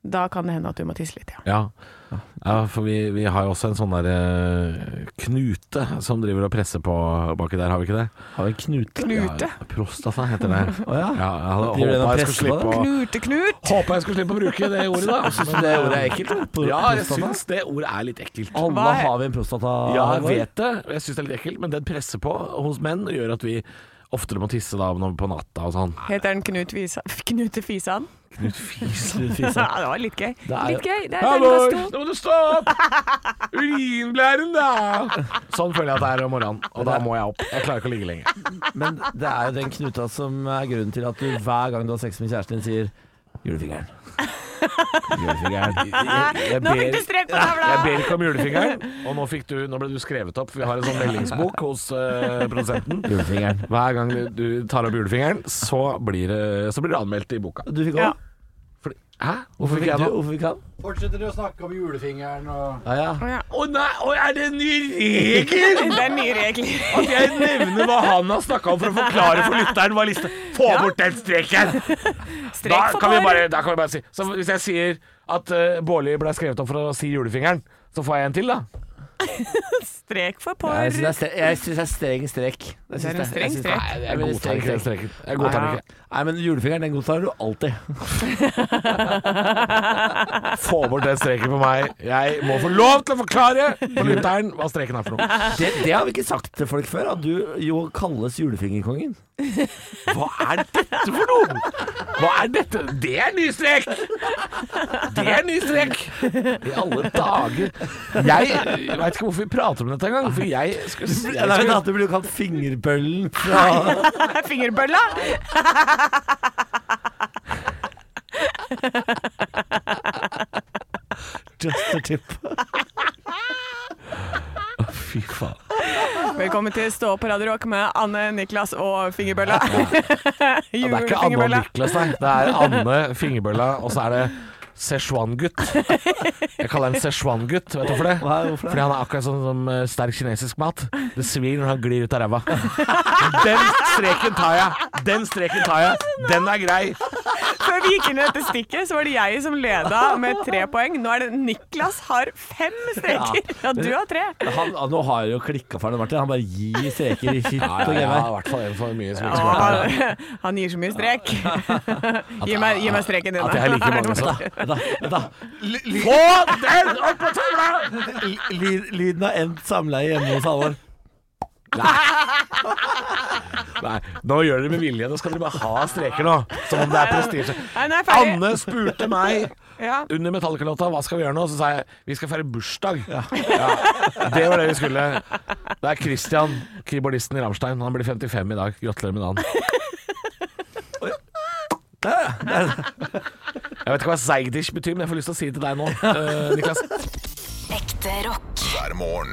Speaker 5: Da kan det hende at du må tisse litt, ja.
Speaker 4: Ja, for vi, vi har jo også en sånn der eh, knute som driver og presser på baki der, har vi ikke det?
Speaker 3: Har vi en knute?
Speaker 5: Knute.
Speaker 4: Ja, prostata heter det.
Speaker 3: Å ja.
Speaker 4: Ja, jeg hadde
Speaker 3: Driver den og
Speaker 4: håpet jeg
Speaker 3: presser
Speaker 4: skulle slippe
Speaker 3: på
Speaker 4: å
Speaker 5: Knute-Knut.
Speaker 4: Håper jeg skulle slippe å bruke det ordet, da.
Speaker 3: Syns du altså, det ordet er ekkelt? da? Pro-
Speaker 4: Ja, jeg
Speaker 3: prostata?
Speaker 4: syns det ordet er litt ekkelt.
Speaker 3: Alle
Speaker 5: Hva er-
Speaker 3: har vi en prostata.
Speaker 4: Ja, jeg
Speaker 3: Halvor.
Speaker 4: vet det. Jeg syns det er litt ekkelt, men den presser på hos menn og gjør at vi oftere må tisse da når- på natta og sånn.
Speaker 5: Heter den Knut Visa, Knute Fisan?
Speaker 3: Snu
Speaker 5: Ja,
Speaker 3: fisa.
Speaker 5: det var litt gøy.
Speaker 3: er jo-
Speaker 5: Litt gøy. Det er
Speaker 4: Halvor,
Speaker 5: terningkast to.
Speaker 4: nå må du stå opp! Urinblæren, da! Sånn føler jeg at det er om morgenen, og da må jeg opp. Jeg klarer ikke å ligge lenge.
Speaker 3: Men det er jo den knuta som er grunnen til at du hver gang du har sex med kjæresten din, sier julefingeren. Julefingeren.
Speaker 4: Jeg
Speaker 5: Nå fikk du strek på tavla!
Speaker 4: Jeg ber ikke om julefingeren, og nå, fikk du, nå ble du skrevet opp. for Vi har en sånn meldingsbok hos eh, produsenten.
Speaker 3: Julefingeren.
Speaker 4: Hver gang du, du tar opp julefingeren, så blir det, så blir det anmeldt i boka.
Speaker 3: Du fikk òg?
Speaker 5: Ja.
Speaker 4: Fordi, hæ?
Speaker 3: Hvorfor
Speaker 4: Hvorfor fikk
Speaker 3: fikk
Speaker 4: jeg
Speaker 3: du?
Speaker 4: det?
Speaker 3: Hvorfor fikk han?
Speaker 12: Fortsetter å snakke om julefingeren og
Speaker 3: Ja, ja.
Speaker 5: Å, ja.
Speaker 4: Å nei, å, er det en ny regel?
Speaker 5: Det er nye regler.
Speaker 4: At jeg nevner hva han har snakka om for å forklare for lytteren hva lista Få bort den streken! Da
Speaker 5: Strek for
Speaker 4: kan, vi
Speaker 5: bare.
Speaker 4: bare, da kan vi bare si Så hvis jeg sier at eh, Bårli ble skrevet opp for å si julefingeren, så får jeg en til, da?
Speaker 5: Strek for
Speaker 3: Jeg syns det, er
Speaker 5: porr.
Speaker 3: stre- jeg synes det er streng strek. Jeg
Speaker 5: Det er
Speaker 3: synes
Speaker 5: en streng
Speaker 3: jeg synes
Speaker 5: strek.
Speaker 3: Nei, det er
Speaker 4: Jeg
Speaker 3: veldig
Speaker 4: godtar
Speaker 3: streng
Speaker 4: ikke den
Speaker 3: strek.
Speaker 4: streken. Jeg godtar den ikke.
Speaker 3: Nei, men julefingeren, den godtar du alltid.
Speaker 4: Få bort den streken på meg. Jeg må få lov til å forklare for lytteren hva streken er for noe.
Speaker 3: Det, det har vi ikke sagt til folk før, at du jo kalles julefingerkongen.
Speaker 4: Hva er dette for noe? Hva er dette? Det er ny strek! Det er ny strek! I alle dager. Jeg, jeg veit ikke hvorfor vi prater om dette engang, for jeg skulle,
Speaker 3: Ja,
Speaker 4: jeg
Speaker 3: nei, men
Speaker 4: skulle
Speaker 3: at du blir jo kalt fingerbøllen fra
Speaker 5: Fingerbølla.
Speaker 3: Juster Tip.
Speaker 4: Fy faen.
Speaker 5: Velkommen til Stå opp på Radio Rock med Anne, Niklas og Fingerbølla.
Speaker 4: Det er ikke Anne og
Speaker 5: Julefingerbølla.
Speaker 4: Niklas, nei. Det er Anne, fingerbølla, og så er det Szechuan-gutt. Jeg kaller han Szechuan-gutt. Vet du hvorfor det?
Speaker 3: Hva er- hvorfor det?
Speaker 4: Fordi han er akkurat sånn som eh, sterk kinesisk mat. Det svir når han glir ut av ræva. Den streken tar jeg! Den streken tar jeg. Den er grei.
Speaker 5: Før vi gikk inn i dette stikket, så var det jeg som leda med tre poeng. Nå er det Niklas har fem streker, og du har tre.
Speaker 3: Han, han, nå har jo klikka for han, Martin. Han bare gir streker i skitt og
Speaker 4: i
Speaker 3: greier.
Speaker 4: hvert fall en for mye som ikke smarte her.
Speaker 5: Å, Ah, han gir så mye strek. Gi meg, gi meg streken din.
Speaker 4: At jeg liker mange
Speaker 5: da.
Speaker 4: som
Speaker 3: Vent da, vent da.
Speaker 4: Få den opp på tavla!
Speaker 3: Ly- Lyden av endt samleie hjemme hos Halvor.
Speaker 4: Nei, nå gjør dere det med vilje. Nå skal dere bare ha streker nå. Som om det er prestisje.
Speaker 5: Nei, nå er jeg ferdig.
Speaker 4: Anne spurte meg
Speaker 5: Ja.
Speaker 4: under Metallica-låta hva skal vi gjøre nå, så sa jeg vi skal feire bursdag. Ja. Det var det vi skulle. Det er Christian, keyboardisten i Rammstein. Han blir 55 i dag. Gratulerer med dagen. Jeg vet ikke hva Zeigdish betyr, men jeg får lyst til å si det til deg nå, eh, Niklas.
Speaker 1: Ekte rock.
Speaker 2: hver morgen.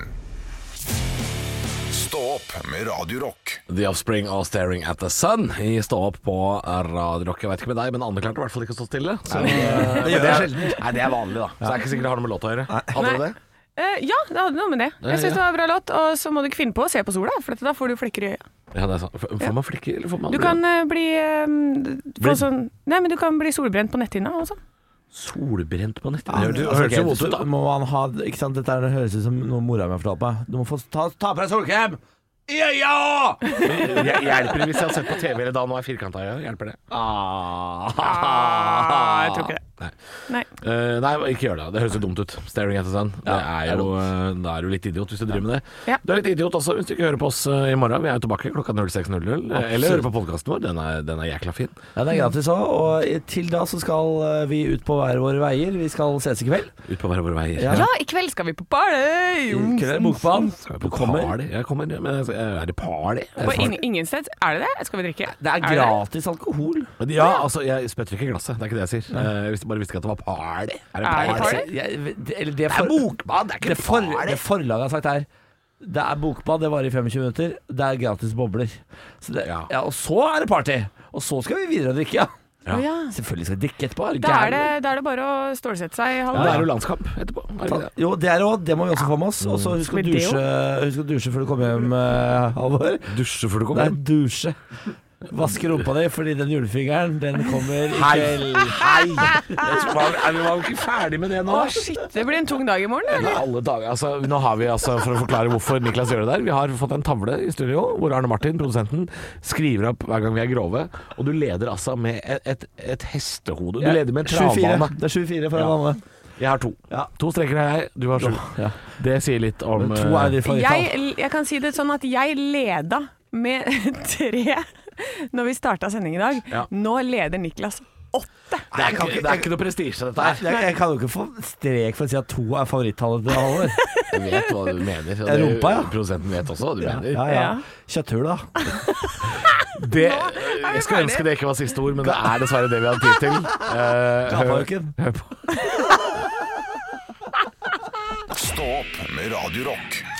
Speaker 2: Stå opp med Radio Rock.
Speaker 4: The Offspring og Staring at the Sun i Stå opp på Radio Rock. Jeg vet ikke med deg, men Anne klarte i hvert fall ikke å stå stille. Så,
Speaker 3: Nei,
Speaker 4: eh,
Speaker 3: det gjør
Speaker 4: er-
Speaker 3: jeg sjelden.
Speaker 4: Nei, det er vanlig, da. Så det er ikke sikkert det har noe med låta å gjøre. Hadde du
Speaker 5: Nei.
Speaker 4: det?
Speaker 5: Eh, ja, det hadde noe med det.
Speaker 4: Ja,
Speaker 5: Jeg syns
Speaker 4: ja.
Speaker 5: det var en bra låt. Og så må du ikke finne på å se på sola, for dette, da får du flekker i øyet.
Speaker 4: Ja, det er sant. F- Får man flikker, eller får man
Speaker 5: Du kan eh, bli eh, få
Speaker 4: Bli-
Speaker 5: sånn Nei, men du kan bli solbrent på netthinna og sånn.
Speaker 4: solbrent på nettet?
Speaker 3: Ja,
Speaker 4: Det
Speaker 3: altså,
Speaker 4: høres
Speaker 3: ok,
Speaker 4: jo vondt ut,
Speaker 3: så
Speaker 4: da.
Speaker 3: Må man ha, ikke sant? Dette er- høres ut som noe mora mi har fortalt meg. Du må få ta, ta på deg solkrem! I øya!
Speaker 4: Jeg hjelper det hvis jeg har sett på TV eller da nå er firkanta øye. Hjelper det?
Speaker 5: Ah, jeg tror ikke det.
Speaker 4: Ah, Nei.
Speaker 5: Nei.
Speaker 4: Eh, nei, ikke gjør det. Det høres jo dumt ut. Staring at the sun. Det er jo, eh, da er du litt idiot hvis du driver med det.
Speaker 5: Ja.
Speaker 4: Du er litt idiot også hvis du ikke hører på oss eh, i morgen. Vi er jo tilbake klokka 06.00. eh, Eller hører på podkasten vår. Den er, den er jækla fin.
Speaker 3: Ja, det er gratis òg. Og i- til da så skal eh, vi ut på hver våre veier. Vi skal ses i kveld.
Speaker 4: Ut på hver vår vei.
Speaker 3: Ja.
Speaker 5: Ja, i kveld skal vi på party!
Speaker 3: I kveld er det bokball.
Speaker 4: Skal vi på
Speaker 3: Du kommer.
Speaker 4: party? Jeg kommer, men jeg- er det party? Er
Speaker 5: På
Speaker 4: det
Speaker 5: ing ingen sted. Er det det? Skal vi drikke?
Speaker 3: Det er gratis alkohol.
Speaker 4: party? Ja, altså, jeg spytter ikke i glasset. Det er ikke det jeg sier. Eh, Jeg visste- bare visste ikke at det var party. Er det
Speaker 5: Er det party?
Speaker 3: Altså, Jeg, det, eller det,
Speaker 4: Det
Speaker 3: for,
Speaker 4: er bokbad, det er
Speaker 3: det,
Speaker 4: ikke
Speaker 3: for,
Speaker 4: party.
Speaker 3: det forlaget har sagt her Det er bokbad, det varer i 25 minutter. Det er gratis bobler. Så det,
Speaker 4: Ja.
Speaker 3: ja. og så er det party! Og så skal vi videre og drikke. Ja.
Speaker 5: Å, Ja.
Speaker 3: Selvfølgelig skal vi drikke etterpå. er du
Speaker 5: Da, er
Speaker 3: gæren?
Speaker 5: det, da er det bare å stålsette seg.
Speaker 4: Ja,
Speaker 5: Halvor.
Speaker 4: det er jo landskamp etterpå. Er det
Speaker 3: Ta-
Speaker 4: ikke det?
Speaker 3: Jo, det er råd. Det må vi også få med oss. Og så husk, å
Speaker 5: Skal vi det
Speaker 3: dusje- husk å dusje før du kommer hjem, eh, Halvor.
Speaker 4: Dusje før du
Speaker 3: Nei,
Speaker 4: kommer hjem.
Speaker 3: dusje. Vaske rumpa di, fordi den julefingeren, den kommer i
Speaker 4: Hei,
Speaker 3: kveld.
Speaker 4: hei! Jeg tror- var- er Vi var jo ikke ferdig med det nå.
Speaker 5: Å, shit. Det blir en tung dag i morgen.
Speaker 4: Men
Speaker 5: Eller?
Speaker 4: Alle dager, altså, nå har vi altså, For å forklare hvorfor Niklas gjør det der Vi har fått en tavle i studio Hvor Arne Martin, produsenten, skriver opp hver gang vi er grove Og du leder altså med et, et, et hestehode Du leder med en
Speaker 3: 24.
Speaker 4: travbane
Speaker 3: Det er 24 for en
Speaker 4: Ja.
Speaker 3: vanlig.
Speaker 4: Jeg har to
Speaker 3: Ja.
Speaker 4: To streker har jeg, du har sju
Speaker 3: Ja.
Speaker 4: Det sier litt om
Speaker 3: Men to er
Speaker 4: eh,
Speaker 3: de favorittall.
Speaker 5: Jeg, jeg kan si det sånn at jeg leda med tre når vi starta sending i dag.
Speaker 4: Ja.
Speaker 5: Nå leder Niklas åtte.
Speaker 4: det, er ikke, det er ikke noe prestisje dette
Speaker 3: Nei,
Speaker 4: her
Speaker 3: jeg, jeg kan jo ikke få strek for å si at to er favorittallet til Halvor.
Speaker 4: Du vet hva du mener og
Speaker 3: Jeg
Speaker 4: det-
Speaker 3: rumpa, ja.
Speaker 4: Produsenten vet også hva du
Speaker 3: Ja,
Speaker 4: mener
Speaker 3: ja. ja.
Speaker 5: Ja.
Speaker 3: Kjøtthull, da.
Speaker 4: Det, jeg skulle ønske det ikke var siste ord, men det er dessverre det vi hadde tid til. Eh, hør-
Speaker 3: Gapaøken.
Speaker 4: hør på.
Speaker 2: Stå opp med Radio Rock.